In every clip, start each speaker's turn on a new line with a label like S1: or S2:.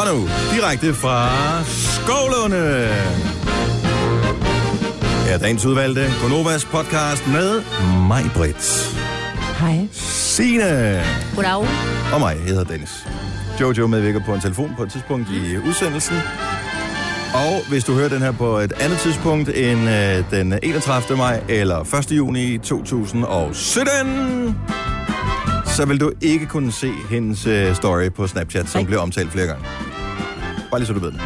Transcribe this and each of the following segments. S1: Og nu, direkte fra Skovlunde. Ja, dagens udvalgte Gonovas podcast med mig, Britt,
S2: Hej.
S1: Signe
S2: Goddag.
S1: og mig. Jeg hedder Dennis. Jojo medvirker på en telefon på et tidspunkt i udsendelsen. Og hvis du hører den her på et andet tidspunkt end øh, den 31. maj eller 1. juni 2017, så vil du ikke kunne se hendes øh, story på Snapchat, som blev omtalt flere gange. Bare lige så du ved det.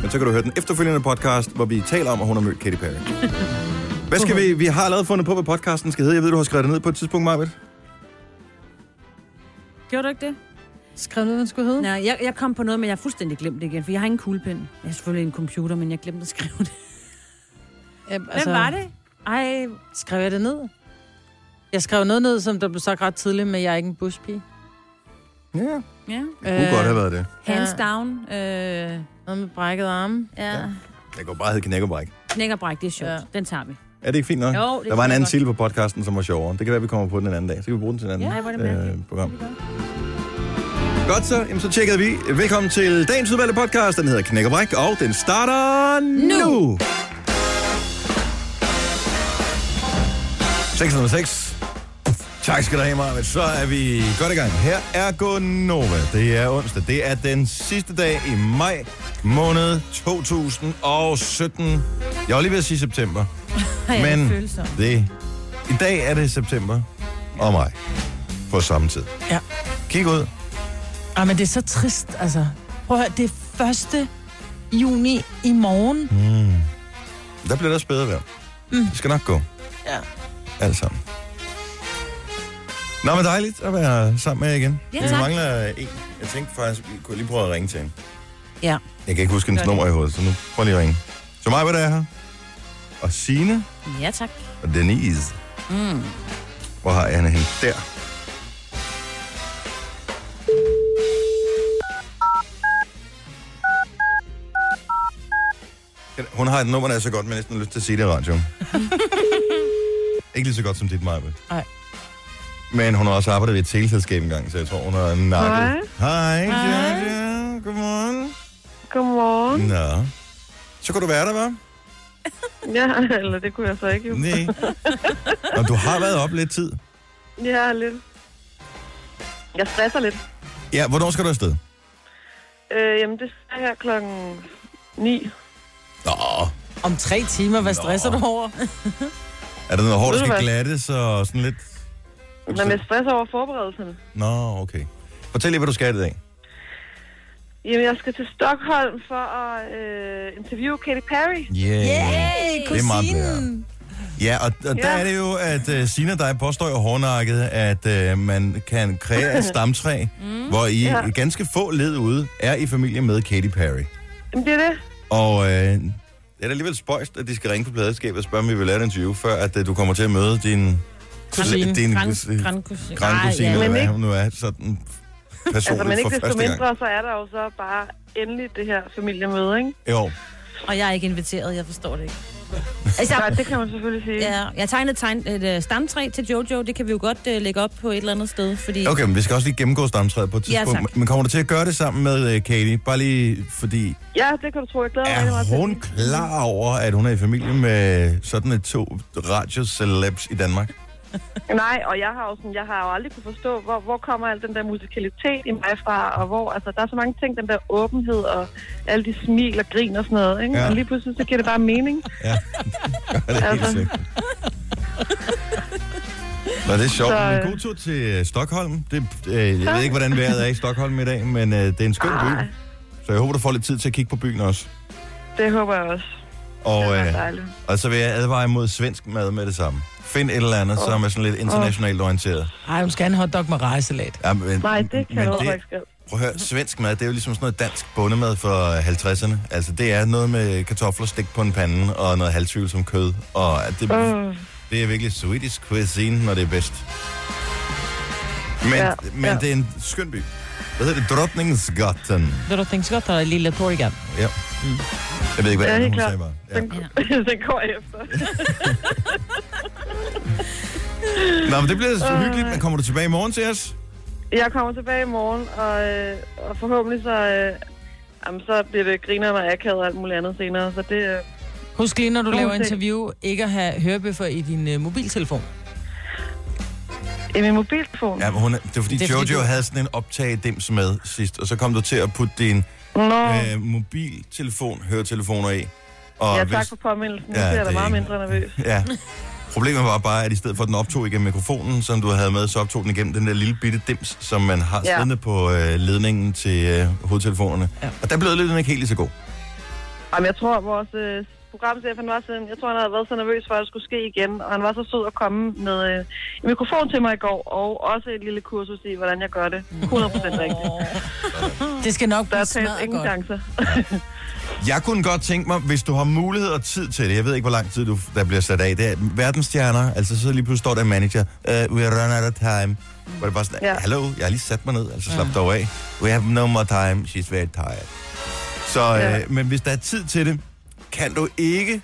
S1: Men så kan du høre den efterfølgende podcast, hvor vi taler om, at hun har mødt Katy Perry. Hvad skal vi... Vi har allerede fundet på, hvad podcasten skal hedde. Jeg ved, du har skrevet det ned på et tidspunkt, Marvitt.
S3: Gjorde du ikke det?
S4: Skrev noget, den skulle hedde?
S3: Nej, jeg, jeg kom på noget, men jeg har fuldstændig glemt det igen, for jeg har ingen kuglepen. Jeg har selvfølgelig en computer, men jeg glemte at skrive det.
S4: Ja,
S3: Altså... Hvem var det? Ej,
S4: Skrev jeg det ned? Jeg skrev noget ned, som der blev sagt ret tidligt, men jeg er ikke en buspige.
S1: Ja, det
S3: ja.
S1: kunne godt have været det.
S3: Hands
S4: Ja.
S3: down. Øh,
S4: Noget med brækket arme.
S3: ja.
S1: Det kunne bare hedde Knækkerbræk.
S3: Knækkerbræk, det er sjovt.
S4: Ja.
S3: Ja. Den tager vi.
S1: Er det ikke fint nok?
S3: Jo, det
S1: der var en
S3: kan
S1: anden
S3: godt.
S1: titel på podcasten, som var sjovere. Det kan være, vi kommer på den en anden dag. Så kan vi bruge den til en anden øh,
S3: Ja, hvor er det mærkeligt.
S1: program. Godt så, jamen, så tjekkede vi. Velkommen til dagens udvalgte podcast. Den hedder Knæk og Bræk, og den starter nu. nu. 606. Tak skal du have, Marvind. Så er vi godt i gang. Her er Gonova. Det er onsdag. Det er den sidste dag i maj måned 2017. Jeg var lige ved at sige september. Men det, i dag er det september og maj på samme tid.
S4: Ja.
S1: Kig ud.
S4: Ah, men det er så trist, altså. Prøv at høre, det er 1. juni i morgen. Mm.
S1: Der bliver der også bedre vejr. Mm. Det skal nok gå.
S4: Ja.
S1: Alt sammen. Nå, men dejligt at være sammen med jer igen.
S3: Ja,
S1: vi
S3: tak.
S1: mangler en. Jeg tænkte faktisk, vi kunne lige prøve at ringe til hende.
S3: Ja.
S1: Jeg kan ikke huske hendes
S3: Gør det.
S1: nummer i hovedet, så nu prøv lige at ringe. Så mig, hvad der er her. Og Signe
S3: Ja, tak.
S1: og Denise. Mm. Hvor har jeg hende henne? Der. Hun har et nummer, der er så godt, men jeg næsten har lyst til at sige det i radioen. Ikke lige så godt som dit, Maja.
S4: Nej.
S1: Men hun har også arbejdet ved et teleselskab engang, så jeg tror, hun har nakket. Hej. Hej, Georgia. Godmorgen.
S5: Godmorgen.
S1: Nå. Så kunne du være der, hva'?
S5: Ja, eller det kunne jeg så ikke jo.
S1: Nej. Og du har været op lidt tid.
S5: Ja, lidt. Jeg stresser lidt.
S1: Ja, hvornår skal du afsted?
S5: Øh, jamen, det er her klokken 9.
S1: Nå,
S4: Om tre timer, hvad stresser
S1: Nå.
S4: du over?
S1: Er der noget hår,
S5: Ved
S1: der
S5: du
S1: skal
S5: hvad?
S1: glattes og sådan lidt?
S5: Men jeg stresser over forberedelserne.
S1: Nå, okay. Fortæl lige, hvad du skal i dag.
S5: Jamen, jeg skal til Stockholm for at øh, interviewe Katy Perry.
S1: Yeah.
S4: Hey,
S1: Det er meget
S4: kusinen!
S1: Ja, og, og der
S5: Ja.
S1: er det jo, at uh, Sina og dig påstår jo hårdnakket, at uh, man kan kreere et stamtræ, mm. hvor I ja.
S5: Ja.
S1: ganske få led ude er i familie med Katy Perry.
S5: Jamen, det er det.
S1: Og uh, det er da alligevel spøjst, at de skal ringe på pladeskabet og spørge, om vi vil lave et interview, før at uh, du kommer til at møde din...
S4: Kusine.
S1: Din
S3: Gran, gran, kusine.
S1: grandkusine,
S5: Men
S1: eller hvad
S5: ikke-
S1: hun nu er, sådan personligt
S5: Altså, men
S1: for
S5: ikke desto
S1: første gang.
S5: mindre, så er der jo så bare endelig det her familiemøde, ikke?
S1: Jo,
S3: Og jeg er ikke inviteret, jeg forstår det ikke. Altså,
S5: Nej, det kan man selvfølgelig sige.
S3: ja, jeg tegnede tegn, et uh, stamtræ til Jojo, det kan vi jo godt uh, lægge op på et eller andet sted, fordi...
S1: Okay, men vi skal også lige gennemgå stamtræet på et
S3: Ja,
S1: tidspunkt.
S3: tak.
S1: men kommer du til at gøre det sammen med uh, Katie? Bare lige fordi,
S5: Ja, det kan du tro. Jeg glæder mig rigtig
S1: er
S5: meget til
S1: hun
S5: det.
S1: klar over, at hun er i familie med sådan et to radiocelebs i Danmark?
S5: Nej, og jeg har, jo sådan, jeg har jo aldrig kunne forstå, hvor, hvor kommer al den der musikalitet i mig fra, og hvor, altså, der er så mange ting, den der åbenhed, og alle de smil og grin og sådan noget, ikke?
S1: Ja.
S5: Ja. Og lige pludselig, så giver det bare mening.
S1: Ja, det er helt
S5: Altså.
S1: sikkert. Nå, det er sjovt.
S5: Så,
S1: Så...
S5: øh.
S1: En god tur til øh, Stockholm. Det, øh, jeg ved ikke, hvordan vejret er i Stockholm i dag, men øh, det er en skøn by. Så jeg håber, du får lidt tid til at kigge på byen også.
S5: Det håber jeg også. Det
S1: Og,
S5: er
S1: øh,
S5: ret dejligt.
S1: og så vil jeg advare imod svensk mad med det samme. Find et eller andet, oh. som er sådan lidt internationalt orienteret.
S4: Ej, hun skal have en hotdog med rejsalat.
S1: Ja, men,
S5: Nej, det kan
S1: men
S5: jeg også ikke skrive.
S1: Prøv at høre, svensk mad, det er jo ligesom sådan noget dansk bondemad for 50'erne. Altså, det er noget med kartofler stegt på en pande, og noget halvtvivl som kød. Og at det,
S5: Åh.
S1: det er virkelig Swedish cuisine, når det er bedst. Men, ja,
S5: Ja,
S1: men
S5: ja.
S1: det er en skøn by. Hvad hedder det? Drottningsgatan.
S4: Ved du, tænkte godt, der er lille torgan.
S1: Ja. Jeg ved ikke,
S5: Mm.
S1: hvad
S5: Ja,
S1: ja,
S5: helt
S1: hun
S5: klart.
S1: sagde bare. Ja.
S5: Den, den går jeg efter.
S1: Nå, men det bliver så hyggeligt. Men kommer du tilbage i morgen til os?
S5: Jeg kommer tilbage i morgen, og, øh, og forhåbentlig så, øh, jamen, så bliver det griner og akavet og alt muligt andet senere. Så det, øh,
S4: Husk lige, når du
S5: Nogle
S4: laver
S5: ting.
S4: interview, ikke at have hørebøffer i din øh, mobiltelefon.
S5: i min mobiltelefon. Ja.
S1: Ja, men hun, er- det var fordi,
S4: Det
S1: det
S4: er
S1: Jojo
S4: fordi,
S1: fordi,
S4: du-
S1: havde sådan en optagedims med sidst, og så kom du til at putte din
S5: Nå,
S1: øh, mobiltelefon, høretelefoner i. Og
S5: ja, tak for påmindelsen. Nu
S1: Ja,
S5: ja, bliver jeg
S1: det
S5: da
S1: er
S5: meget
S1: ikke-
S5: mindre nervøs.
S1: Ja. Problemet var bare, at i stedet for, at den optog igennem mikrofonen, som du havde med, så optog den igennem den der lille bitte dims, som man har
S5: Ja.
S1: siddende på øh, ledningen til øh, hovedtelefonerne.
S4: Ja.
S1: Ja. Og der blev lyden ikke helt lige så god.
S5: Jamen, jeg tror, vores øh, programchef, han var sådan, jeg tror, han havde været så nervøs for, at det skulle ske igen. Og han var så sød at komme med øh, en mikrofon til mig i går, og også et lille kursus i, hvordan jeg gør det. 100 procent rigtigt.
S4: Det skal nok
S5: Der
S4: blive
S5: er talt
S4: smadret
S5: ingen
S4: godt.
S5: chancer.
S1: Jeg kunne godt tænke mig, hvis du har mulighed og tid til det, jeg ved ikke, hvor lang tid du, der bliver sat af, det er verdensstjerner, altså så lige pludselig står der en manager, uh, we are run out of time. Hvor det bare sådan,
S5: Ja.
S1: hallo, jeg har lige sat mig ned, altså slap dig af. We have no more time, she's very tired. Så,
S5: Ja.
S1: øh, men hvis der er tid til det, kan du ikke,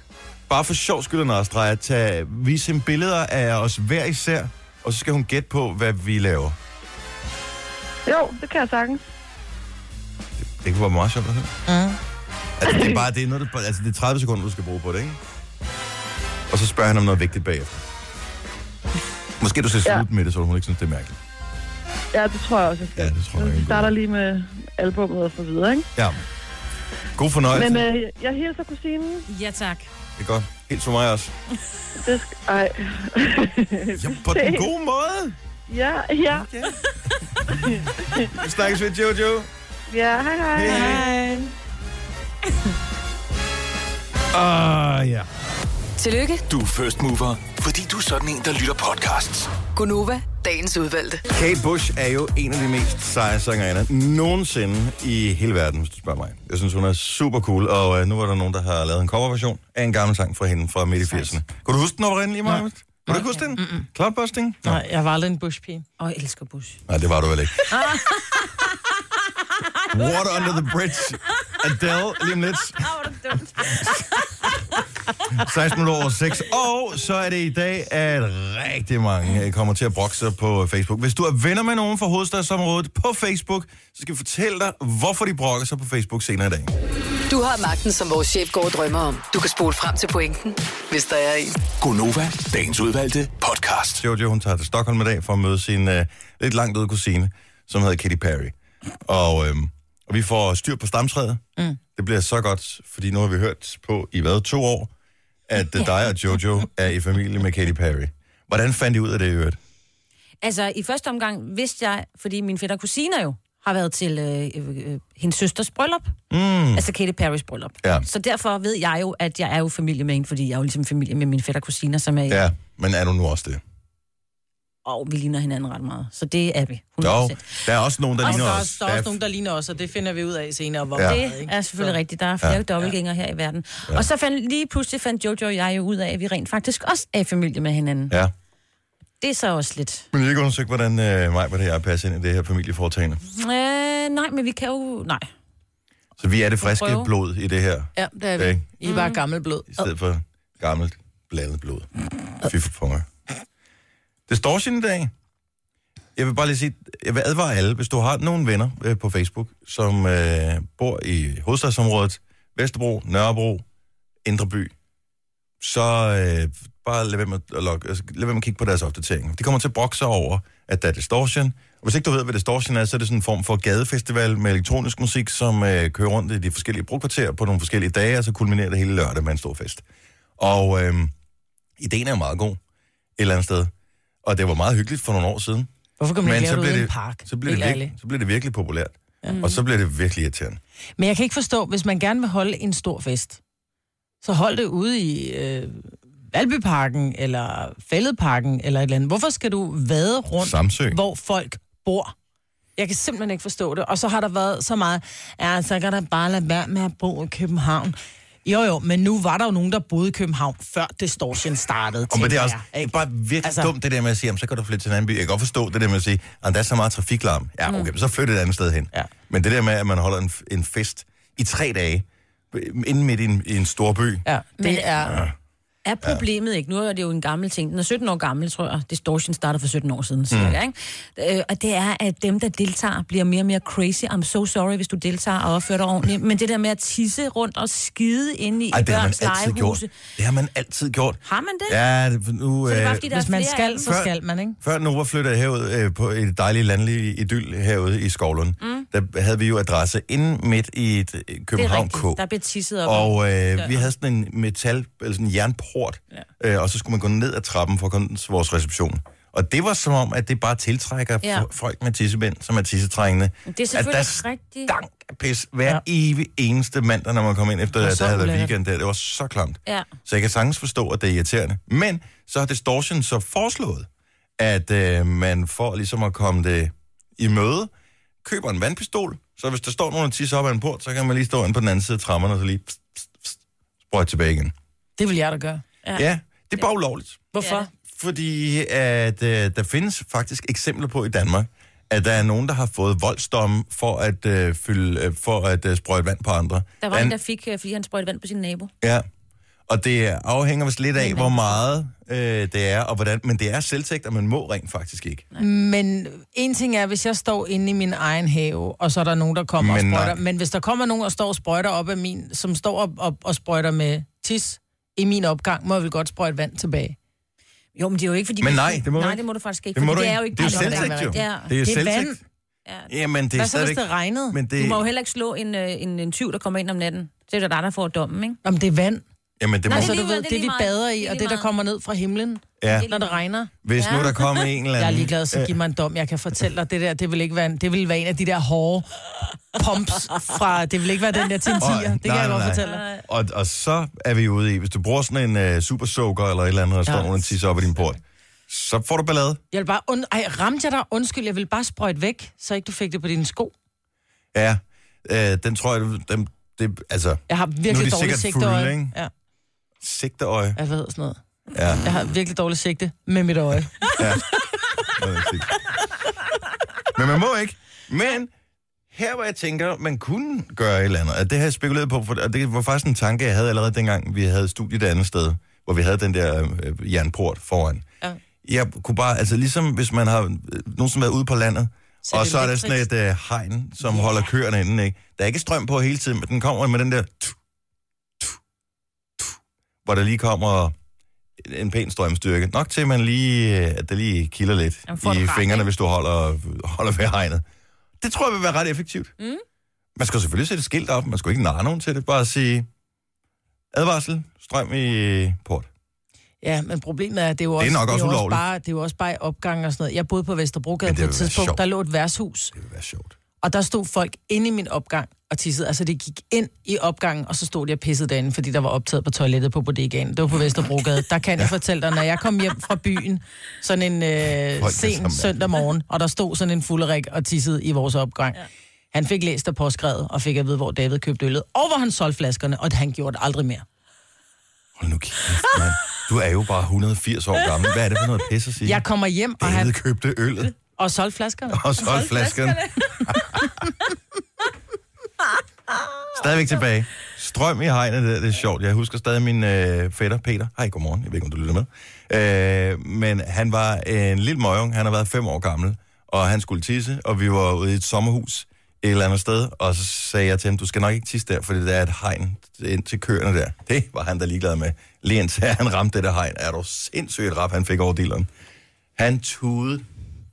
S1: bare for sjov skyld og streger, tage, vise hende billeder af os hver især, og så skal hun gætte på, hvad vi laver.
S5: Jo, det kan jeg sagtens.
S1: Det kunne være meget sjovt at høre.
S4: Mm.
S1: Altså, det er bare det er noget, du, altså, det er 30 sekunder, du skal bruge på det, ikke? Og så spørger han om noget vigtigt bagefter. Måske du skal
S5: Ja.
S1: slutte med det, så hun ikke synes, det er mærkeligt.
S5: Ja, det tror jeg også, jeg skal.
S1: Ja, det tror jeg er
S5: Vi
S1: en god
S5: starter
S1: idé.
S5: lige med albummet og så videre, ikke?
S1: Ja. God fornøjelse.
S5: Men
S1: Men, øh...
S5: øh, jeg hilser kusinen.
S3: Ja, tak.
S1: Det er godt. Helt for mig også.
S5: Det sk- Ej.
S1: Ja, på den gode måde.
S5: ja, ja,
S1: Ja. Vi snakkes ved Jojo.
S5: ja, hej hej.
S1: Hej.
S4: Hej.
S1: Ah, ja.
S2: Tillykke,
S6: Du er first mover, fordi du er sådan en, der lytter podcasts.
S2: Gunova, dagens udvalgte.
S1: Kate Bush er jo en af de mest seje sangerinder nogensinde i hele verden, hvis du spørger mig. Jeg synes, hun er super cool, og øh, nu er der nogen, der har lavet en coverversion af en gammel sang fra hende fra midt i 80'erne. Kunne du huske den oprindelige, lige meget? Kunne du ikke huske den? Cloudbusting? Nå.
S4: Nej, jeg var aldrig en bushpige.
S3: Og jeg elsker Bush.
S1: Nej, det var du vel ikke. Water Under the Bridge. Adele, lige om lidt.
S3: Åh, hvor er det dumt.
S1: 16 minutter over 6. Og så er det i dag, at rigtig mange øh, kommer til at brokke sig på Facebook. Hvis du er venner med nogen fra hovedstadsområdet på Facebook, så skal vi fortælle dig, hvorfor de brokker sig på Facebook senere i dag.
S2: Du har magten, som vores chef går og drømmer om. Du kan spole frem til pointen, hvis der er en.
S6: Gonova, dagens udvalgte podcast.
S1: Jojo, hun tager til Stockholm i dag for at møde sin øh, lidt langt ude kusine, som hedder Katy Perry. Og, øh, og vi får styr på stamtræet. Mm. Det bliver så godt, fordi nu har vi hørt på i hvad, to år, at øh, dig og Jojo er i familie med Katy Perry. Hvordan fandt I ud af det i øvrigt?
S3: Altså, i første omgang vidste jeg, fordi min fætter og kusiner jo har været til øh, øh, øh, hendes søsters bryllup. Mm. Altså Katy Perrys bryllup.
S1: Ja.
S3: Så derfor ved jeg jo, at jeg er jo familie med hende, fordi jeg er jo ligesom familie med mine fætter og kusiner, som
S4: øh,
S3: er... Ja.
S1: Ja, men er du nu også det?
S3: Og vi ligner hinanden ret meget. Så det er vi. 100%.
S1: Jo, der er også nogen, der
S4: Og
S1: ligner
S4: der er,
S1: os.
S4: også, der er også nogen, der ligner os, og det finder vi ud af senere, hvor
S1: Ja.
S4: meget,
S3: Det
S4: ikke?
S3: er selvfølgelig
S4: Så-
S3: rigtigt. Der er flere ja. dobbeltgængere her i verden. Ja. Og så fandt, lige pludselig fandt Jojo og jeg jo ud af, at vi rent faktisk også er i familie med hinanden. Ja.
S1: Ja,
S3: Det er så også lidt...
S1: men jeg har ikke undersøgt, hvordan øh, mig, hvad det er, passer ind i det her familieforetagende.
S3: Øh, nej, men vi kan jo... Nej.
S1: Så vi er det friske
S3: Prøve.
S1: blod i det her,
S4: Ja, det er vi.
S1: Ikke?
S4: I er
S3: Mm.
S4: bare gammel blod.
S1: i stedet for gammelt blandet blod. Fy for pokker. Det står sin i dag. Jeg vil bare lige sige, jeg vil advare alle, hvis du har nogle venner øh, på Facebook, som øh, bor i hovedstadsområdet, Vesterbro, Nørrebro, Indreby, så øh, bare lad være, med at logge, altså, lad være med at kigge på deres opdateringer. De kommer til at brokke sig over, at der er distortion. Og hvis ikke du ved, hvad distortion er, så er det sådan en form for gadefestival med elektronisk musik, som øh, kører rundt i de forskellige brugkvarterer på nogle forskellige dage, og så kulminerer det hele lørdag med en stor fest. Og øh, ideen er jo meget god et eller andet sted. Og det var meget hyggeligt for nogle år siden.
S4: Hvorfor kan man ikke
S1: så
S4: lave det
S1: blev
S4: ude i en
S1: det,
S4: park?
S1: så blev
S4: Helt
S1: det, virkelig,
S4: ærligt.
S1: så blev det virkelig populært. Ja. Og så blev det virkelig irriterende.
S4: Men jeg kan ikke forstå, hvis man gerne vil holde en stor fest, så hold det ude i øh, Valbyparken, eller Fælledparken, eller et eller andet. Hvorfor skal du vade rundt,
S1: Samsø.
S4: hvor folk bor? Jeg kan simpelthen ikke forstå det. Og så har der været så meget, ja, så kan der bare lade være med at bo i København. Jo, jo, men nu var der jo nogen, der boede i København, før distortion startede.
S1: Og men det er
S4: tænker
S1: også
S4: jeg,
S1: det er
S4: ikke?
S1: bare virkelig
S4: Altså-
S1: altså... dumt, det der med at sige, jamen, så kan du flytte til en anden by. Jeg kan godt forstå det der med at sige, at der er så meget trafiklarm. Ja, okay, mm. så flyt et andet sted hen.
S4: Ja.
S1: Men det der med, at man holder en, en fest i tre dage, inden midt i en, i en stor by.
S4: Ja, det er...
S3: er problemet ikke? Nu er det jo en gammel ting. Den er 17 år gammel, tror jeg. Distortion starter for 17 år siden, cirka,
S1: Mm.
S3: ikke? Øh, og det er, at dem, der deltager, bliver mere og mere crazy. I'm so sorry, hvis du deltager og opfører dig ordentligt. Men det der med at tisse rundt og skide ind i,
S1: Ej,
S3: i
S1: det har man
S3: børns
S1: altid gjort.
S3: legehuse.
S1: Det har man altid gjort.
S3: Har man det?
S1: Ja, det- nu...
S3: Så det er bare,
S1: øh,
S3: fordi, der
S4: Hvis
S3: er
S4: man
S3: flere af
S4: skal,
S3: dem.
S4: så skal man, ikke?
S1: Før Nova flyttede herud øh, på et dejligt landlig idyl herude i Skovlund, mm. der havde vi jo adresse inde midt i et øh,
S3: Det er
S1: København K.
S3: rigtigt. Der bliver tisset op.
S1: Og øh, vi havde sådan en metal, eller sådan en jernport, ja. øh, og så skulle man gå ned ad trappen for at komme til vores reception. Og det var som om, at det bare tiltrækker
S3: Ja.
S1: ja. folk med tissebænd, som er tissetrængende.
S3: Det er selvfølgelig
S1: at der
S3: rigtigt.
S1: stank af pis hver ja. evig eneste mandag, når man kom ind efter,
S4: var
S1: at
S4: så
S1: der havde været
S4: ulækkert.
S1: weekend der. Det var så klamt.
S3: Ja.
S1: Så jeg kan sagtens forstå, at det er irriterende. Men så har Distortion så foreslået, at øh, man får ligesom at komme det i møde, køber en vandpistol, så hvis der står nogen og tisser op ad en port, så kan man lige stå ind på den anden side af trammerne og så lige pst, pst, pst, sprøjt tilbage igen.
S4: Det vil jeg da gøre.
S1: Ja, ja det er bare ulovligt.
S4: Hvorfor?
S1: Fordi at, øh, der findes faktisk eksempler på i Danmark, at der er nogen, der har fået voldsdomme for at, øh, fylde, øh, for at øh, sprøjte vand på andre.
S3: Der var en, der fik, øh, fordi han sprøjtede vand på sin nabo.
S1: Ja, og det afhænger vist lidt af, hvor meget øh, det er, og hvordan, men det er selvtægt, og man må rent faktisk ikke.
S4: Men en ting er, hvis jeg står inde i min egen have, og så er der nogen, der kommer
S1: Men
S4: men og sprøjter.
S1: nej.
S4: Nej. Men hvis der kommer nogen og står og sprøjter op af min, som står op, op og sprøjter med tis i min opgang, må jeg vel godt sprøjte vand tilbage.
S3: Jo, men det er jo ikke, fordi...
S1: Men
S3: vi-
S1: nej, det må du
S3: nej,
S1: ikke.
S3: det må du faktisk ikke.
S1: Det må
S3: fordi
S1: du
S3: Det
S1: ikke.
S3: er jo ikke
S1: det er jo
S4: din opgave,
S1: selvtægt, jo.
S4: ikke?
S3: Ja.
S1: Det er
S4: Det er
S1: selvtægt. Jamen, det er
S4: Hvad så, hvis
S1: stadigvæk...
S4: det regnede?
S1: Men
S3: Du
S1: det,
S3: må jo heller ikke slå en, øh, en, en tyv, der kommer ind om natten. Det er jo dig, der får dommen, ikke?
S4: Om det er vand.
S1: jamen, det må,
S3: Nej,
S4: Altså,
S3: lige
S4: du
S3: meget,
S4: ved,
S3: det er
S4: det,
S3: lige
S4: vi
S3: meget.
S4: bader
S3: Det
S4: i,
S3: er
S4: og
S3: lige
S4: det, der
S3: meget.
S4: kommer ned fra himlen,
S1: ja.
S4: når det regner.
S1: Hvis nu
S3: Ja.
S1: der kom en eller anden... øh,
S4: Jeg er ligeglad, så giv mig en dom. Jeg kan fortælle dig, det der, det vil ikke være en, det vil være en af de der hårde pumps fra... Det vil ikke være den der til en
S1: Åh,
S4: tiger. Det kan
S1: nej,
S4: jeg
S1: nej,
S4: godt
S1: nej.
S4: fortælle dig.
S1: Og, og så er vi ude i, hvis du bruger sådan en uh, super soaker eller et eller andet, og står
S4: Ja.
S1: nogen og tisser op i din port, så får du ballade.
S4: Jeg vil bare... Und... Ej, ramte jeg dig? Undskyld, jeg vil bare sprøjte væk, så ikke du fik det på dine sko.
S1: Ja, øh, den tror jeg, den, det, altså,
S4: Jeg har
S1: Nu er
S4: virkelig
S1: de
S4: dårlig
S1: sikkert
S4: sigte.
S1: fulde,
S4: øje.
S1: ikke?
S4: Ja,
S1: sigteøje.
S4: jeg ved sådan noget.
S1: Ja.
S4: Jeg har virkelig dårlig sigte med mit øje.
S1: Ja. Nå, det er fint. Men man må ikke. Men her, hvor jeg tænker, man kunne gøre et eller andet, og det har jeg spekuleret på, for, og det var faktisk en tanke, jeg havde allerede dengang, vi havde studiet et andet sted, hvor vi havde den der øh, jernport foran.
S4: Ja.
S1: Jeg kunne bare, altså ligesom hvis man har øh, nogen, som har været ude på landet, så
S4: Så
S1: og
S4: det
S1: så er der
S4: elektrisk.
S1: sådan et øh, hegn, som yeah. holder køerne inde, ikke? Der er ikke strøm på hele tiden, men den kommer med den der, tu, tu, tu, hvor der lige kommer en pæn strømstyrke. Nok til, at man lige, øh, at det lige kilder lidt
S3: Jamen, får
S1: i
S3: du ret,
S1: fingrene,
S3: ikke?
S1: hvis du holder, holder ved hegnet. Det tror jeg vil være ret effektivt. Mm. Man skal selvfølgelig sætte et skilt op, man skal jo ikke narre nogen til det. Bare sige, advarsel, strøm i port.
S4: Ja, men problemet er, at det er jo også,
S1: nok også
S4: det er jo også
S1: ulovligt.
S4: bare, det er jo også bare i opgang og sådan noget. Jeg boede på Vesterbrogade
S1: Men det
S4: på et
S1: ville være sjovt.
S4: tidspunkt, der lå et værtshus,
S1: Det vil være sjovt.
S4: og der stod folk inde i min opgang og tissede. Altså, det gik ind i opgangen, og så stod de og pissede derinde, fordi der var optaget på toilettet på bodegaen. Det var på Vesterbrogade. Der kan jeg fortælle dig, når jeg kom hjem fra byen, sådan en øh,
S1: Folk er så
S4: sen
S1: mærkelige.
S4: søndag morgen, og der stod sådan en fulderik og tissede i vores opgang. Ja. Han fik læst og påskrevet, og fik at vide, hvor David købte øllet, og hvor han solgte flaskerne, og han gjorde det aldrig mere.
S1: Hold nu kæft, mand. Du er jo bare 180 år gammel. Hvad er det for noget pis at sige?
S4: Jeg kommer hjem, og
S1: David
S4: han
S1: købte øllet
S4: og solgte flaskerne.
S1: og solgte flasken. Stadigvæk tilbage. Strøm i hegnet, det, det er sjovt. Jeg husker stadig min øh, fætter, Peter. Hej, godmorgen. Jeg ved ikke, om du lytter med. Øh, men han var en lille møgung. Han har været fem år gammel, og han skulle tisse, og vi var ude i et sommerhus et eller andet sted, og så sagde jeg til ham, du skal nok ikke tisse der, for det der er et hegn ind til køerne der. Det var han da ligeglad med. Lige indtil han ramte det der hegn. Er du sindssygt et rap, han fik over dilleren. Han tudede.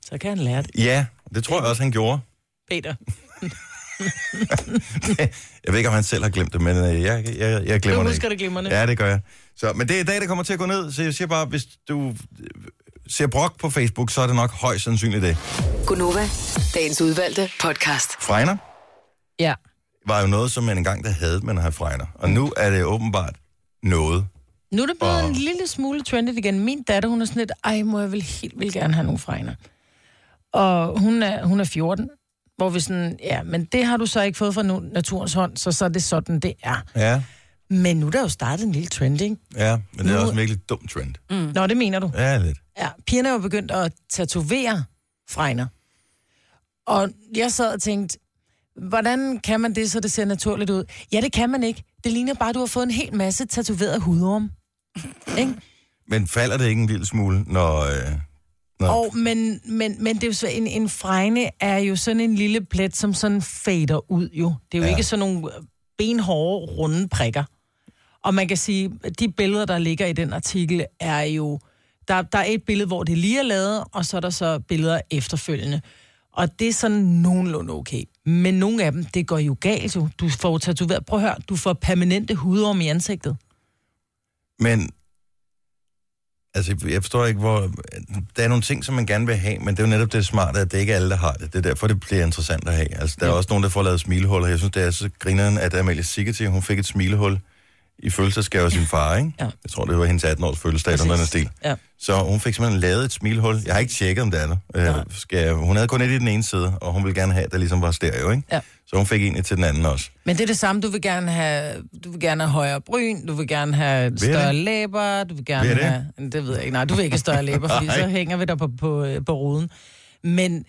S4: Så kan han lære det.
S1: Ja, det tror jeg også, han gjorde.
S4: Peter.
S1: Jeg ved ikke, om han selv har glemt det, men øh, jeg, jeg, jeg glemmer
S4: Du
S1: det
S4: husker
S1: ikke.
S4: det glimrende.
S1: Ja, det gør jeg. Så, men det er i dag, der kommer til at gå ned, så jeg siger bare, hvis du øh, ser brok på Facebook, så er det nok højst sandsynligt det.
S2: Gunova, dagens udvalgte podcast.
S1: Fregner
S4: Ja.
S1: var jo noget, som man engang der havde, man har fregner. Og nu er det åbenbart noget.
S4: Nu er det blevet en lille smule trendet igen. Min datter, hun er sådan lidt, ej, må jeg vel helt vil gerne have nogle fregner. Og hun er, hun er 14, hvor vi sådan, ja, men det har du så ikke fået fra nu- naturens hånd, så, så er det sådan, det er.
S1: Ja,
S4: Men nu er der jo startet en lille trending.
S1: ja men det er
S4: Nu-
S1: også en virkelig dum trend. Mm.
S4: Mm. Nå, det mener du.
S1: Ja, lidt.
S4: Ja, pigerne er jo begyndt at tatovere fregner. Og jeg sad og tænkte, hvordan kan man det, så det ser naturligt ud? Ja, det kan man ikke. Det ligner bare, at du har fået en hel masse tatoveret hudorm. Ikke?
S1: Men falder det ikke en lille smule, når... Øh, når
S4: Og, men, men, men det er jo svært. En, en fregne er jo sådan en lille plet, som sådan fader ud jo. Det er jo ja. ikke sådan nogle benhårde, runde prikker. Og man kan sige, at de billeder, der ligger i den artikel, er jo... Der, der er et billede, hvor det lige er lavet, og så er der så billeder efterfølgende. Og det er sådan nogenlunde okay. Men nogle af dem, det går jo galt jo. Du får tatoveret... Prøv at høre, du får permanente hudorm i ansigtet.
S1: Men... Altså, jeg forstår ikke, hvor... Der er nogle ting, som man gerne vil have, men det er jo netop det smarte, at det ikke er alle, der har det. Det er derfor, det bliver interessant at have. Altså, der er også nogen, der får lavet smilehuller. Jeg synes, det er så grineren, at Amalie Sigeti, hun fik et smilehul i fødselsdagsgave af sin far, ikke?
S4: Ja.
S1: Jeg tror, det var hendes 18-års fødselsdag, eller noget af den stil.
S4: Ja.
S1: Så hun fik simpelthen lavet et smilhul. Jeg har ikke tjekket, om det er der. Øh, skal jeg, hun havde kun et i den ene side, og hun ville gerne have, at der ligesom var stereo, ikke?
S4: Ja.
S1: Så hun fik en til den anden også.
S4: Men det er det samme, du vil gerne have, du vil gerne have højere bryn, du vil gerne have større
S1: det?
S4: læber, du vil gerne
S1: Vil jeg det?
S4: have... Det ved jeg ikke, nej, du vil ikke have større læber, fordi
S1: Nej.
S4: så hænger vi der på, på, øh, på ruden. Men,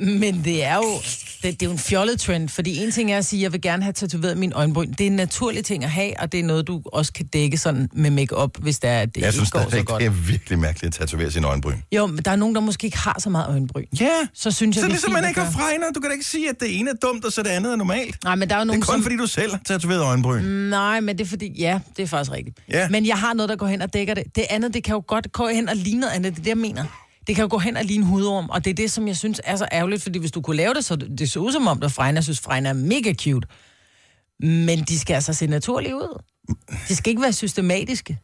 S4: men det er jo det, det er jo en fjollet trend, fordi en ting er at sige, jeg vil gerne have tatoveret min øjenbryn. Det er en naturlig ting at have, og det er noget, du også kan dække sådan med makeup, hvis det er, at det
S1: Jeg
S4: ikke
S1: synes
S4: går så
S1: stadigvæk,
S4: godt.
S1: det er virkelig mærkeligt at tatovere sin øjenbryn.
S4: Jo, men der er nogen, der måske ikke har så meget øjenbryn.
S1: Ja,
S4: Så synes jeg,
S1: så
S4: det er
S1: ligesom
S4: fint
S1: man
S4: at
S1: ikke har
S4: gøre.
S1: fregner. Du kan da ikke sige, at det ene er dumt, og så det andet er normalt.
S4: Nej, men der er jo
S1: Det
S4: nogen,
S1: er kun
S4: som...
S1: fordi, du selv har tatoveret øjenbryn. Mm.
S4: Nej, men det er fordi, ja, det er faktisk rigtigt.
S1: Ja.
S4: Men jeg har noget, der går hen og dækker det. Det andet, det kan jo godt gå hen og ligne noget andet, det er det, jeg mener. Det kan jo gå hen og ligne hudorm, og det er det, som jeg synes er så ærgerligt, fordi hvis du kunne lave det, så det så ud som om, at Frejne, jeg synes, Frejne er mega cute. Men de skal altså se naturlige ud. De skal ikke være systematiske.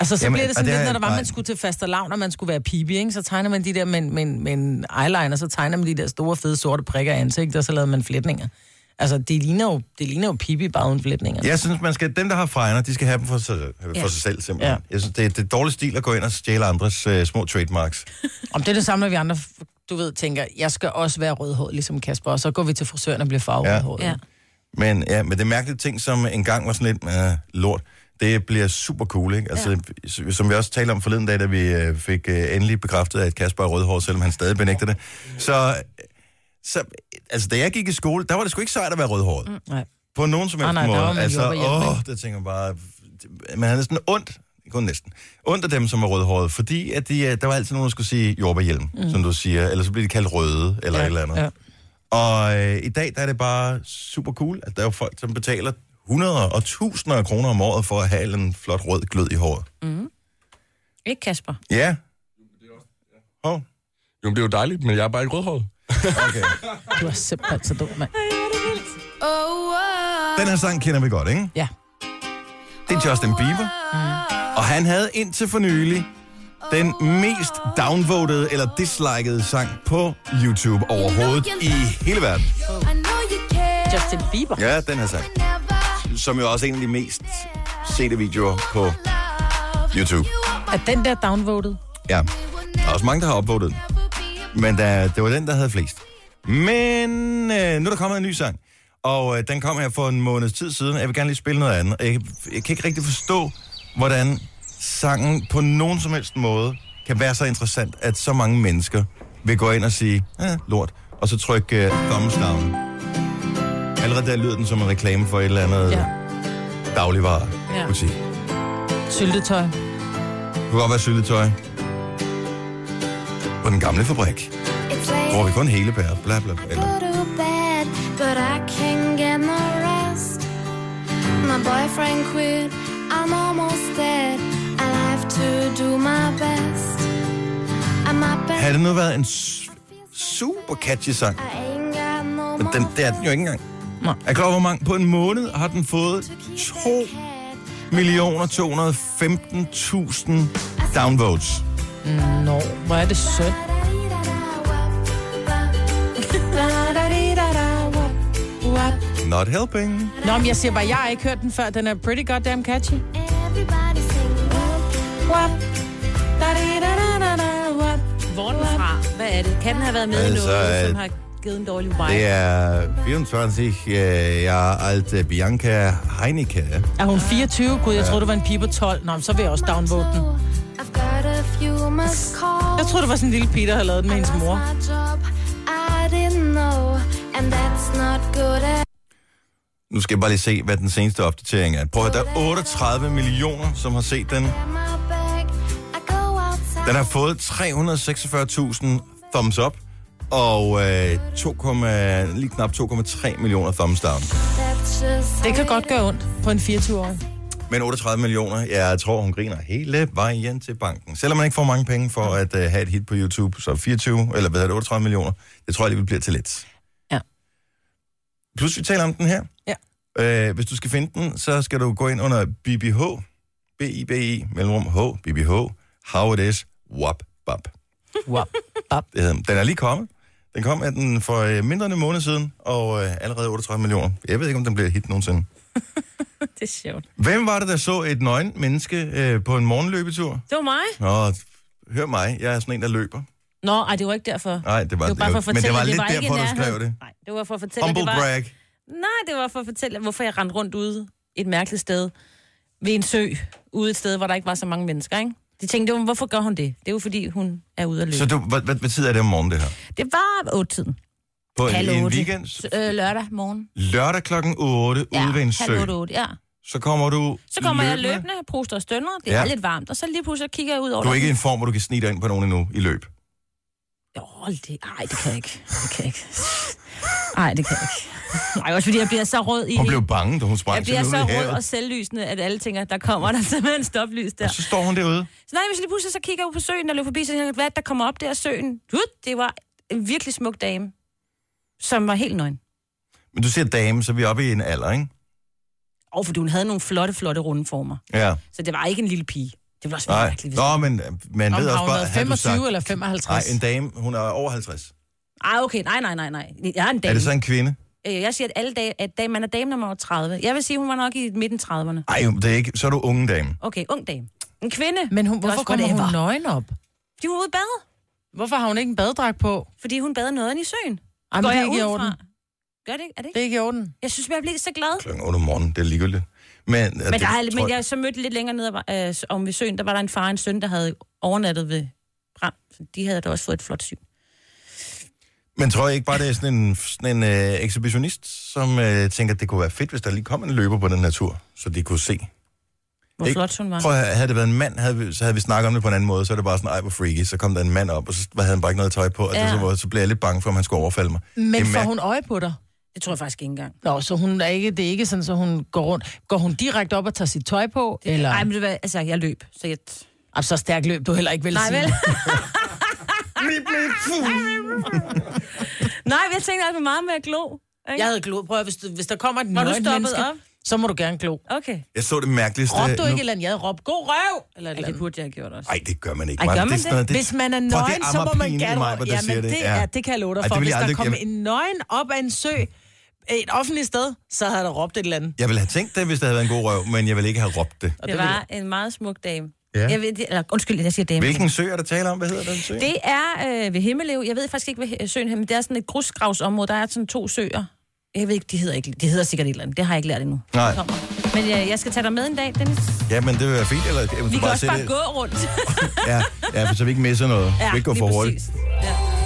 S4: Altså, så
S1: Jamen,
S4: Jamen, bliver det
S1: og
S4: sådan
S1: det
S4: det
S1: er-
S4: lidt, når der var,
S1: nej.
S4: man skulle til faste lavn, og man skulle være pibi, ikke? så tegner man de der med, med, med en eyeliner, så tegner man de der store, fede, sorte prikker i ansigtet, og så lavede man flætninger. Altså, det ligner jo, det ligner jo pibi bare uden flætninger.
S1: Jeg synes, man skal, dem, der har fregner, de skal have dem for sig, for
S3: Ja.
S1: sig selv simpelthen.
S4: Ja.
S1: Jeg synes, det er, det er dårlig stil at gå ind og stjæle andres øh, små trademarks.
S4: Om det er det samme, når vi andre, du ved, tænker, jeg skal også være rødhåret, ligesom Kasper, og så går vi til frisøren og bliver farvet
S1: Ja.
S4: ja. håret.
S3: Ja.
S4: Ja.
S1: Men ja, men det mærkelige ting, som engang var sådan lidt øh, lort, det bliver super cool, ikke? Altså, ja. som vi også talte om forleden dag, da vi øh, fik øh, endelig bekræftet, at Kasper er rødhåret, selvom han stadig benægter det. Så, så, altså, da jeg gik i skole, der var det sgu ikke sejt at være rødhåret. Mm.
S4: Nej.
S1: På nogen som helst
S4: Ah, nej, der
S1: måde.
S4: var man
S1: altså,
S4: jo hjemme,
S1: åh, det tænker jeg bare... Man havde næsten ondt, kun næsten, ondt af dem, som er rødhårede, fordi at de, øh, der var altid nogen, der skulle sige jordbærhjelm, mm. som du siger, eller så blev de kaldt røde, eller ja, et eller andet. Ja.
S4: ja.
S1: Og øh, i dag der er det bare super cool, at der er jo folk, som betaler hundreder og tusinder af kroner om året for at have en flot rød glød i håret.
S3: Mm. Ikke Kasper?
S1: Ja. Hov.
S7: Jo, men det er jo dejligt, men jeg er bare ikke rødhåret.
S1: Okay.
S4: Du er simpelthen så dum, mand.
S8: Oh,
S1: Den her sang kender vi godt, ikke?
S4: Ja.
S1: Det er Justin Bieber. Og han havde indtil for nylig den mest downvotede eller dislikede sang på YouTube overhovedet i hele verden.
S4: Justin Bieber. Ja.
S1: Ja, den her sang. Som jo også er en af de mest sete videoer på YouTube.
S4: Er den der downvoted?
S1: Ja, der er også mange, der har opvotet den. Men der, det var den, der havde flest. Men øh, nu er der kommet en ny sang. Og øh, den kom her for en måneds tid siden. Jeg vil gerne lige spille noget andet. Jeg, jeg kan ikke rigtig forstå, hvordan sangen på nogen som helst måde kan være så interessant, at så mange mennesker vil gå ind og sige, eh, lort, og så trykke øh, thumbs down. Allerede der lyder den som en reklame for et eller andet ja.
S4: Ja.
S1: dagligvarebutik. Ja.
S4: Syltetøj.
S1: Det kunne godt være syltetøj. På den gamle fabrik. Bruger vi kun hele pære. Bla, bla, bla. Eller.
S8: But I can get no rest. My boyfriend quit, I'm almost dead. I have to do my best. I'm up
S1: Havde
S8: and
S1: det nu været en s- super catchy sang?
S8: I ain't got no
S1: Men
S8: more
S1: den, det er den jo ikke engang.
S4: Nej.
S1: Er klar, over, hvor mange? På en måned har den fået 2 millioner 215.000 downvotes.
S4: Nå, hvor er det sødt.
S1: Not helping.
S4: Nå, men jeg siger bare, jeg har ikke hørt den før. Den er pretty goddamn catchy.
S8: Everybody sing
S4: Wap. Da-di-da-da-da-da, wap.
S3: Hvor er den fra? Hvad er det? Kan den have været med
S1: Altså,
S3: altså,
S1: øh,
S3: i noget, som har givet en dårlig vibe?
S1: Det er 24 øh, år alt Bianca Heineke.
S4: Er hun 24? Gud, jeg troede, det var en pige på 12. Nå, men så vil jeg også downvote den.
S8: I've got a few must call.
S4: Jeg troede, det var sådan en lille pige, der havde lavet den med hendes mor.
S8: I lost my job, I didn't know, and that's not good at
S1: Nu Nu skal jeg bare lige se, hvad den seneste opdatering er. Prøv at høre, der er 38 millioner, som har set den. Den har fået 346.000 thumbs up, og øh, 2, lige knap 2,3 millioner thumbs down.
S4: Det kan godt gøre ondt på en 24-årig.
S1: Men 38 millioner, jeg tror, hun griner hele vejen til banken. Selvom man ikke får mange penge for at uh, have et hit på YouTube, så 24, eller hvad hedder det, 38 millioner, det tror jeg alligevel bliver til lidt.
S4: Ja.
S1: Plus vi taler om den her.
S4: Ja.
S1: Øh, hvis du skal finde den, så skal du gå ind under BBH, B-I-B-I, E, mellemrum H, BBH, How It Is, Wap Bap.
S4: Wow. Bap.
S1: Det hedder den. Den er lige kommet. Den kom af den for øh, mindre end en måned siden, og øh, allerede 38 millioner. Jeg ved ikke, om den bliver et hit nogensinde.
S3: Det er sjovt.
S1: Hvem var det, der så et nøgen menneske øh, på en morgenløbetur?
S3: Det var mig.
S1: Nå, hør mig, jeg er sådan en, der løber.
S3: Nå, ej, det var ikke derfor.
S1: Nej, det var,
S3: det var bare for at
S1: men
S3: fortælle,
S1: det var
S3: at
S1: lidt
S3: ikke
S1: derfor,
S3: i
S1: du skrev
S3: nærheden.
S1: det.
S3: Nej, det var for at fortælle, at
S1: Humble
S3: det var...
S1: brag.
S3: Nej, det var for at fortælle, hvorfor jeg rendte rundt ude et mærkeligt sted ved en sø, ude et sted, hvor der ikke var så mange mennesker, ikke? De tænkte, "Jamen, hvorfor gør hun det? Det er jo fordi, hun er ude at løbe.
S1: Så du, hvad, hvad, hvad tid er det om morgenen, det her?
S3: Det var 8-tiden.
S1: På en,
S3: Halv
S1: en
S3: otte.
S1: weekend?
S3: Så, øh, lørdag morgen.
S1: Lørdag klokken 8 ja, ude ved en sø.
S3: halv otte, otte, ja.
S1: Så kommer du
S3: Så kommer jeg løbende, proster og stønner, det er
S1: Ja.
S3: ja. lidt varmt, og så lige pludselig kigger jeg ud over...
S1: Du er ikke i en form, hvor du kan snige dig ind på nogen endnu i løb.
S3: Åh, det... Ej, det kan jeg ikke. Det kan jeg ikke. Ej, det kan jeg ikke. Ej, også fordi jeg bliver så rød i...
S1: Hun blev bange, da hun sprang
S3: jeg bliver så
S1: simpelthen ud i
S3: rød
S1: havet.
S3: og selvlysende, at alle tænker, der kommer der simpelthen stoplys der.
S1: Og så står hun derude.
S3: Så nej, hvis jeg lige pludselig så kigger jeg ud på søen og løber forbi, så tænker jeg, hvad er det, der kommer op der af søen? Gud, det var en virkelig smuk dame, som var helt nøgen.
S1: Men du ser dame, så er vi oppe i en alder, ikke?
S3: Og fordi hun havde nogle flotte, flotte runde former.
S1: Ja,
S3: Så det var ikke en lille pige. Det ville også være
S1: nej.
S3: mærkeligt. Hvis...
S1: Nå, men man
S4: Om
S1: ved
S4: har
S1: også
S4: hun
S1: bare...
S4: været
S1: havde du
S4: 25
S1: sagt-
S4: eller
S1: Nej,
S4: 55?
S1: en dame, hun er over 50.
S3: Ej, okay, nej, nej, nej, nej. Jeg er en
S1: Er
S3: dame.
S1: det så en kvinde?
S3: Øh, Jeg siger, at, alle dage, at dame, man er dame, når man er 30. Jeg vil sige, hun var nok i midten 30'erne.
S1: Ej, det er ikke. Så er du unge dame.
S3: Okay, ung dame. En kvinde.
S4: Men hun,
S3: Det er
S4: hvorfor
S3: også
S4: kommer hun
S3: whatever.
S4: nøgen op?
S3: De var ude at bade,
S4: Hvorfor har hun ikke en baddragt på?
S3: fordi hun bader noget i søen.
S4: Jamen,
S3: Går
S4: det er
S3: jeg
S4: ikke i
S3: ud fra?
S4: orden.
S3: Gør det ikke? Er det ikke?
S4: Det er ikke i orden.
S3: Jeg synes, jeg bliver så glad.
S1: Klokken 8 om morgenen, det er ligegyldigt. Men, øh, men,
S3: Men, der er, men jeg så mødte lidt længere ned ad vej- øh, om ved søen, der var der en far og en søn, der havde overnattet ved Bram. Så de havde da også fået et flot syn.
S1: men tror jeg ikke bare, det er sådan en, sådan en øh, ekshibitionist, som øh, tænker, at det kunne være fedt, hvis der lige kom en løber på den her tur, så de kunne se.
S3: Hvor
S1: Ikke?
S3: ikke. flot hun var.
S1: Prøv at høre, havde det været en mand, havde vi, så havde vi snakket om det på en anden måde, så er det bare sådan, ej, hvor freaky. Så kom der en mand op, og så havde han bare ikke noget tøj på, og ja.
S3: Ja.
S1: så, var- så blev jeg lidt bange for, om han skulle overfalde mig.
S4: Men
S1: Det er
S4: får
S1: mær-
S4: hun øje på dig?
S3: Det tror jeg faktisk ikke engang.
S4: Nå, så hun er ikke, det er ikke sådan, så hun går rundt. Går hun direkte op og tager sit tøj på? Eller?
S3: Nej,
S4: Ej,
S3: men det var, altså, jeg løb, så jeg...
S4: så stærk løb du heller ikke, vil
S3: Nej,
S4: sige.
S3: vel? Nej, men jeg tænkte alt for meget med at glo. Ikke?
S4: Jeg havde glo. Prøv at, hvis, du, hvis der kommer et
S3: Var du
S4: nøgent
S3: stoppet
S4: menneske,
S3: op?
S4: så må du gerne glo.
S3: Okay.
S1: Jeg så det mærkeligste.
S4: Råb du
S1: nu-
S4: ikke et eller andet? Jeg havde råbt, god røv! Eller et
S3: Ja,
S4: eller
S3: det
S4: andet.
S3: burde jeg have gjort også.
S1: Ej, det gør man ikke.
S3: Ej,
S1: Maja.
S3: gør
S1: Det er
S3: man
S1: sådan noget-
S4: Hvis man er
S1: Prøv, det er
S4: nøgen, så må man
S1: amagerpinen i
S4: gerne...
S1: mig, hvor der
S4: ja,
S1: siger
S4: men det,
S1: Ja.
S4: er, det kan jeg love dig
S1: Ej,
S4: for.
S1: det vil
S4: Hvis
S1: jeg
S4: der
S1: aldrig-
S4: kom
S1: jeg-
S4: en nøgen op af en sø et offentligt sted, så havde der råbt et eller andet.
S1: Jeg ville have tænkt det, hvis det havde været en god røv, men jeg ville ikke have råbt det.
S3: Det var en meget smuk dame.
S1: Ja.
S3: Jeg ved, eller, undskyld, jeg siger dame.
S1: Hvilken sø er der tale om? Hvad hedder den sø?
S3: Det er øh, ved Himmelev. Jeg ved faktisk ikke, hvad he- søen hedder, men det er sådan et grusgravsområde. Der er sådan to søer. Jeg ved ikke, de hedder, ikke, de hedder sikkert et eller andet. Det har jeg ikke lært endnu.
S1: Nej.
S3: Det kommer. Men øh, jeg skal tage dig med en dag, Dennis.
S1: Ja, men det vil være fint, eller? Jeg vil
S3: Vi kan også
S1: sætte-
S3: bare gå rundt.
S1: Ja, ja, for så vi ikke misser noget. Ja, vi ikke går
S3: lige
S1: for hurtigt.
S3: præcis.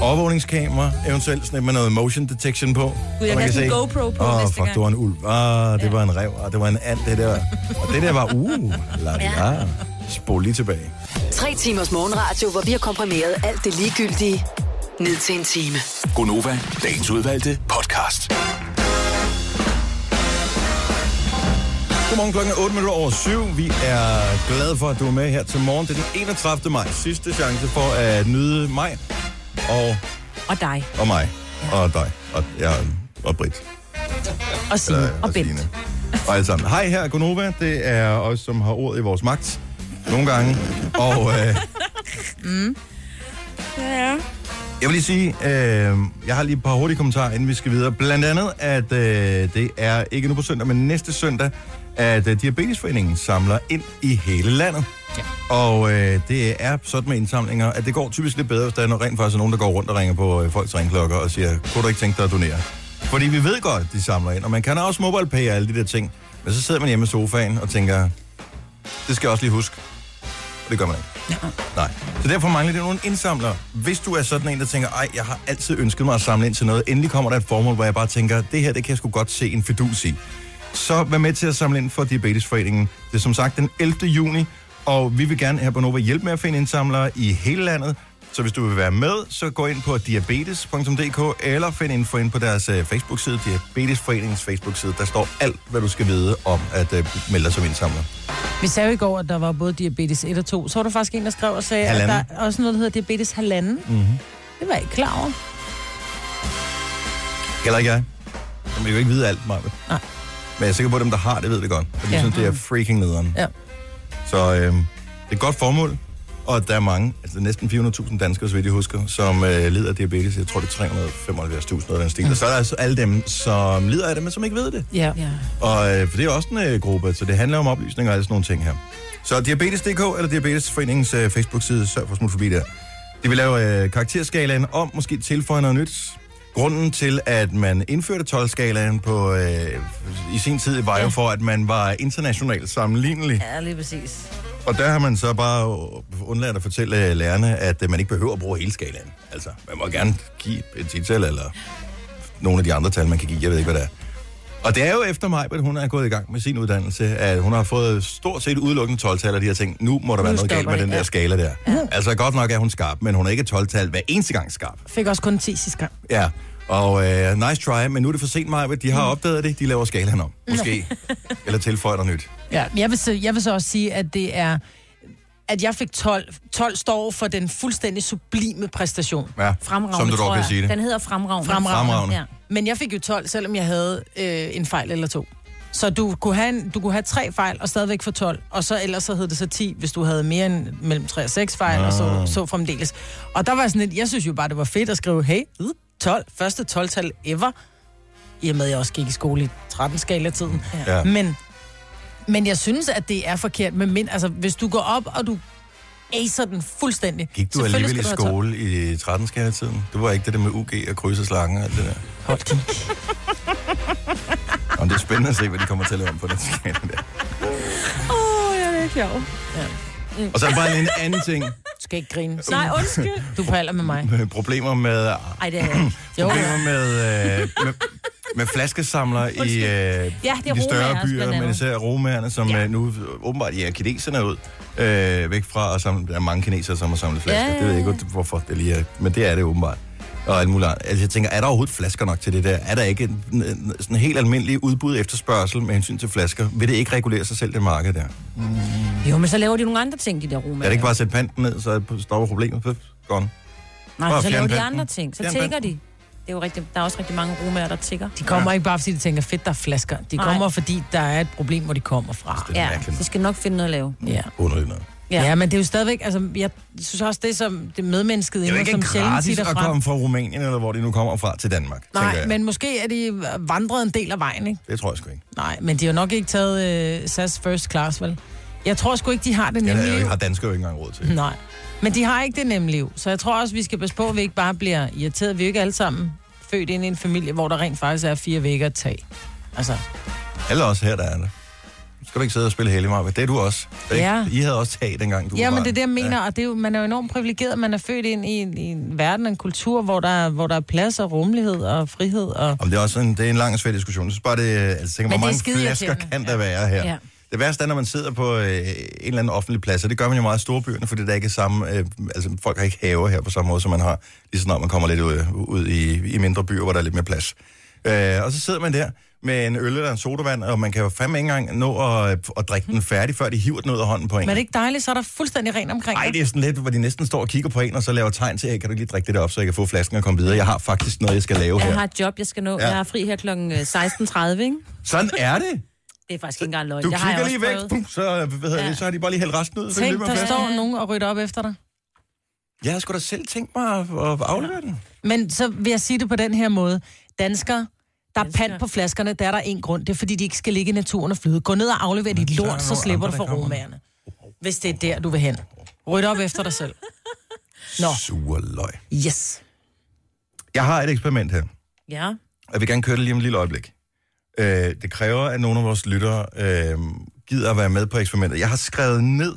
S3: Ja.
S1: Overvågningskamera, eventuelt sådan et med noget motion detection på. Gud,
S3: jeg kan have sådan en GoPro på
S1: Åh,
S3: næste
S1: fuck,
S3: gang."
S1: det var en ulv. Ah, det ja. var en rev. Ah, det var en and, det der. Og det der var, uh, la, la. Ja. Spol lige tilbage.
S2: Tre timers morgenradio, hvor vi har komprimeret alt det ligegyldige ned til en time.
S6: Gonova, dagens udvalgte podcast.
S1: Godmorgen klokken er 8 minutter over 7. Vi er glade for, at du er med her til morgen. Det er den 31. maj. Sidste chance for at nyde mig og,
S3: Og dig.
S1: og mig og dig og, ja, og Britt.
S3: Og Signe.
S1: Øh,
S3: og Bent.
S1: Signe. Og alle sammen. Hej, her er Gunova. Det er os, som har ordet i vores magt. Nogle gange. Og øh,
S3: Ja.
S1: jeg vil lige sige, øh, jeg har lige et par hurtige kommentarer, inden vi skal videre. Blandt andet, at øh, det er ikke nu på søndag, men næste søndag, at øh, Diabetesforeningen samler ind i hele landet. Ja. Og øh, det er sådan med indsamlinger, at det går typisk lidt bedre, hvis der er noget, rent faktisk er nogen, der går rundt og ringer på øh, folks ringklokker og siger, kunne du ikke tænke dig at donere? Fordi vi ved godt, at de samler ind, og man kan også mobile pay og alle de der ting. Men så sidder man hjemme i sofaen og tænker, det skal jeg også lige huske. Og det gør man ikke. Nej. Så derfor mangler det nogle indsamlere. Hvis du er sådan en, der tænker, ej, jeg har altid ønsket mig at samle ind til noget, endelig kommer der et formål, hvor jeg bare tænker, det her, det kan jeg sgu godt se en fidus i. så vær med til at samle ind for Diabetesforeningen. Det er som sagt den 11. juni, og vi vil gerne her på Nova hjælpe med at finde indsamlere i hele landet. Så hvis du vil være med, så gå ind på diabetes.dk eller find info ind på deres øh, Facebook-side, Diabetesforeningens Facebook-side. Der står alt, hvad du skal vide om at øh, melde dig som indsamler.
S4: Vi sagde jo i går, at der var både diabetes 1 og 2. Så var der faktisk en, der skrev og sagde, halvanden. at
S1: Halvanden.
S4: der er også noget, der hedder diabetes halvanden. Mm-hmm. Det var jeg ikke klar over.
S1: Heller ikke jeg. Men vi kan jo ikke vide alt, Maja.
S4: Nej.
S1: Men jeg er sikker på, at dem, der har det, ved det godt. Og de ja.
S4: Ja. Mm.
S1: synes, det er freaking nederen.
S4: Ja.
S1: Så øh, det er et godt formål, og der er mange, altså næsten 400.000 danskere, så vidt jeg husker, som øh, lider af diabetes. Jeg tror, det er 375.000 noget af den
S4: Mm.
S1: stil. Og så er der altså alle dem, som lider af det, men som ikke ved det.
S4: Ja.
S3: Ja.
S1: Og øh, for det er også en øh, gruppe, så det handler om oplysning og alle sådan nogle ting her. Så diabetes.dk eller Diabetesforeningens øh, Facebook-side, sørg for at smutte forbi der. De vil lave øh, karakterskalaen om, måske tilføje noget nyt. Grunden til, at man indførte 12-skalaen på, øh, i sin tid, var jo for, at man var internationalt sammenlignelig.
S3: ja, lige præcis.
S1: Og der har man så bare undladt at fortælle øh, lærerne, at øh, man ikke behøver at bruge hele skalaen. Altså, man må gerne give et tital eller nogle af de andre tal, man kan give. Jeg ved ikke, hvad det er. Og det er jo efter mig, at hun er gået i gang med sin uddannelse, at hun har fået stort set udelukkende 12-tal, og de har tænkt, nu må der være noget
S3: stopper
S1: galt med
S3: det,
S1: den der
S3: ja.
S1: skala der. Altså, godt nok er hun skarp, men hun er ikke 12-tal hver eneste gang skarp.
S4: Fik også kun 10 sidste gang.
S1: Ja, og øh, nice try, men nu er det for sent, Maja. De
S3: Mm.
S1: har opdaget det, de laver skalaen om. Måske. Eller tilføjer noget nyt.
S4: Ja, men jeg vil, så, jeg vil så også sige, at det er at jeg fik 12. 12 står for den fuldstændig sublime præstation.
S1: Ja,
S3: Fremragende,
S1: som du dog
S3: tror
S1: kan
S3: jeg.
S1: sige det.
S3: Den hedder Fremragende.
S4: Fremragende.
S1: Fremragende.
S3: Ja.
S4: Men jeg fik jo 12, selvom jeg havde øh, en fejl eller to. Så du kunne, have en, du kunne have tre fejl og stadigvæk få 12, og så ellers så hed det så 10, hvis du havde mere end mellem 3 og 6 fejl, og
S1: Ah.
S4: så, så fremdeles. Og der var jeg sådan lidt, jeg synes jo bare, det var fedt at skrive, hey, øh, 12, første 12-tal ever, i og med, at jeg også gik i skole i 13-skala-tiden.
S1: Ja.
S4: Men, men jeg synes, at det er forkert med mind. Altså, hvis du går op, og du acer den fuldstændig.
S1: Gik du
S4: selvfølgelig
S1: alligevel i
S4: skal du have 12.
S1: skole i 13 tiden? Det var ikke det der med UG og kryds og slange og alt det der.
S4: Hold din
S1: Om det er spændende at se, hvad de kommer til at lave om på den skala der.
S3: Åh, jeg er ikke sjov.
S1: Og så er der bare lige en anden ting.
S4: Du skal ikke grine.
S3: Nej, undskyld.
S4: Du er på alder med mig.
S1: Problemer med, øh,
S3: Ej, det er jeg ikke.
S4: Jo.
S1: problemer med, øh, med, med flaskesamler i, øh, ja,
S3: det er
S1: de større
S3: romaer, blandt
S1: byer, men
S3: andet.
S1: især romagerne, som ja. nu åbenbart ja, kineserne er ud øh, væk fra, og samle, der er mange kinesere, som har samlet flasker.
S3: Ja, ja,
S1: Det ved jeg ikke, godt, hvorfor det lige er, men det er det åbenbart. Og alt muligt andet. Altså, jeg tænker, er der overhovedet flasker nok til det der? Er der ikke en, en, en, sådan helt almindelig udbud efterspørgsel med hensyn til flasker? Vil det ikke regulere sig selv, det marked der? Er
S3: Jo, men så laver de nogle andre ting, de der romager.
S1: det ikke bare at sætte panten ned, så er det stopper problemet? Pøf, gone.
S3: Nej,
S1: Bare
S3: men så laver de
S1: fjernpanten.
S3: andre ting. Så
S1: Fjernpanten.
S3: tigger de. Det er jo rigtig, der er også rigtig mange romager, der tigger.
S4: De kommer ja. ikke bare, fordi de tænker, fedt, der er flasker. De
S3: Nej.
S4: Nej. kommer, fordi der er et problem, hvor de kommer fra.
S1: Det er
S3: Ja,
S1: mærkeligt.
S3: de skal nok finde noget at lave.
S4: Ja.
S1: Underligt noget.
S4: Ja. ja, men det er jo stadigvæk, altså, jeg synes også, det er som det medmennesket
S1: Det er jo
S4: inden,
S1: ikke
S4: som sjældent
S1: gratis
S4: titter
S1: at
S4: frem.
S1: komme fra Rumænien, eller hvor de nu kommer fra, til Danmark, tænker
S4: Nej,
S1: jeg.
S4: men måske er de vandret en del af vejen, ikke?
S1: Det tror jeg sgu ikke.
S4: Nej, men de har jo nok ikke taget øh, SAS First Class, vel? Jeg tror sgu ikke, de har det
S1: Ja,
S4: nemme
S1: det er jo
S4: liv.
S1: ikke- har danskere jo ikke engang råd til.
S4: Nej, men de har ikke det nemme liv. Så jeg tror også, vi skal passe på, at vi ikke bare bliver irriteret. Vi er jo ikke alle sammen født ind i en familie, hvor der rent faktisk er fire vægge at tage. Altså,
S1: Eller også her, der er det. Nu Skal du ikke sidde og spille heldig, Marve? Det er du også. Er det
S4: Ja.
S1: Ikke? I havde også tag dengang, du
S4: Ja,
S1: var
S4: men
S1: barn.
S4: det er det, jeg mener,
S1: Ja.
S4: ja. og det er jo, man er jo enormt privilegeret, man er født ind i en, i en verden og en kultur, hvor der, er- hvor der er plads og rummelighed og frihed. Og...
S1: Om det er også en, det er en lang og svær diskussion. Jeg synes bare, det, er- altså, tænker,
S4: Men
S1: hvor
S4: det er
S1: mange flasker
S4: skideirriterende.
S1: kan der være her?
S3: Ja.
S1: Det værste er, når man sidder på øh, en eller anden offentlig plads, og det gør man jo meget i storbyerne, fordi der ikke er samme, øh, altså, folk har ikke haver her på samme måde, som man har, lige så snart man kommer lidt ud, ud i, i mindre byer, hvor der er lidt mere plads. Øh, og så sidder man der med en øl eller en sodavand, og man kan jo fandme ikke engang nå at, at drikke den færdig, før de hiver den ud af hånden på en.
S4: Men er det ikke dejligt, så er der fuldstændig ren omkring
S1: Ej,
S4: dig.
S1: det er sådan lidt, hvor de næsten står og kigger på en, og så laver tegn til, hey, kan du ikke lige drikke det der op, så jeg kan få flasken og komme videre. Jeg har faktisk noget, jeg skal lave
S3: Jeg
S1: her.
S3: har et job, jeg skal nå.
S1: Ja.
S3: Jeg er fri her kl. 16.30, ikke?
S1: Sådan er det.
S3: Det er faktisk ikke engang løgn.
S1: Du
S3: Det har jeg
S1: kigger
S3: også
S1: lige væk,
S3: prøvet.
S1: pum, så, hvad hedder
S3: Ja.
S1: det, så har de bare lige hældt resten ud. Så kan de
S4: Tænk,
S1: løbe
S4: der
S1: med flasken.
S4: står nogen og rydder op efter dig.
S1: Jeg har sgu da selv tænkt mig at, at aflevere den.
S4: Men så vil jeg sige det på den her måde. Danskere, der er pant på flaskerne, der er der en grund. Det er, fordi de ikke skal ligge i naturen og flyde. Gå ned og aflever dit
S1: der er
S4: lort, så
S1: nogle
S4: slipper du
S1: andre,
S4: for
S1: der kommer.
S4: romagerne. Hvis det er der, du vil hen. Ryd op efter dig selv. Nå,
S1: Sure løg.
S4: yes.
S1: Jeg har et eksperiment her.
S3: Ja.
S1: Jeg vil gerne køre det lige om et lille øjeblik. Øh, det kræver, at nogle af vores lyttere øh, gider at være med på eksperimentet. Jeg har skrevet ned,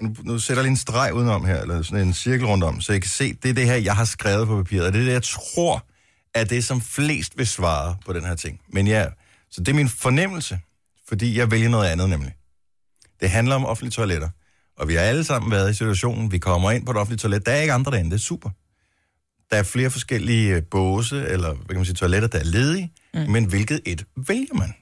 S1: nu, nu sætter jeg lige en streg udenom her, eller sådan en cirkel rundt om, så I kan se, det er det her, jeg har skrevet på papiret, og det er det, jeg tror, er det, som flest vil svare på den her ting. Men jeg Så det er min fornemmelse, fordi jeg vælger noget andet nemlig. Det handler om offentlige toiletter. Og vi har alle sammen været i situationen, vi kommer ind på et offentligt toilet, der er ikke andre derinde, det er super. Der er flere forskellige øh, båse, eller hvad kan man sige, toiletter, der er ledige, mm. men hvilket et vælger man?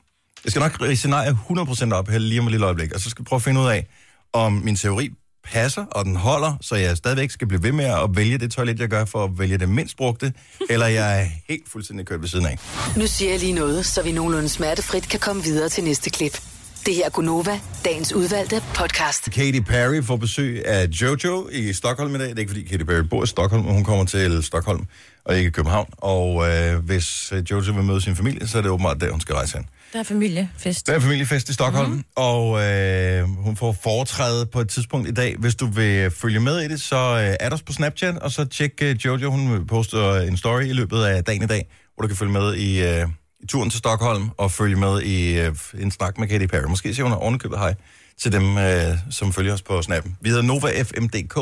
S1: Jeg skal nok i scenariet 100% op her lige om et lille øjeblik, og så skal vi prøve at finde ud af, om min teori passer, og den holder, så jeg stadigvæk skal blive ved med at vælge det toilet, jeg gør, for at vælge det mindst brugte, eller jeg er helt fuldstændig kørt ved siden af.
S2: Nu siger jeg lige noget, så vi nogenlunde smertefrit kan komme videre til næste klip. Det her er Gunova, dagens udvalgte podcast.
S1: Katy Perry får besøg af Jojo i Stockholm i dag. Det er ikke, fordi Katy Perry bor i Stockholm, men hun kommer til Stockholm og ikke København. Og øh, hvis øh, Jojo vil møde sin familie, så er det åbenbart der, hun skal rejse hen.
S3: Der er familiefest.
S1: Der er familiefest i Stockholm, mm. og øh, hun får foretræde på et tidspunkt i dag. Hvis du vil følge med i det, så øh, er der os på Snapchat, og så tjek øh, Jojo, hun poster en story i løbet af dagen i dag, hvor du kan følge med i, øh, i turen til Stockholm, og følge med i øh, en snak med Katy Perry. Måske siger hun ovenikøbet hej til dem, øh, som følger os på Snap. Vi hedder NovaFMDK,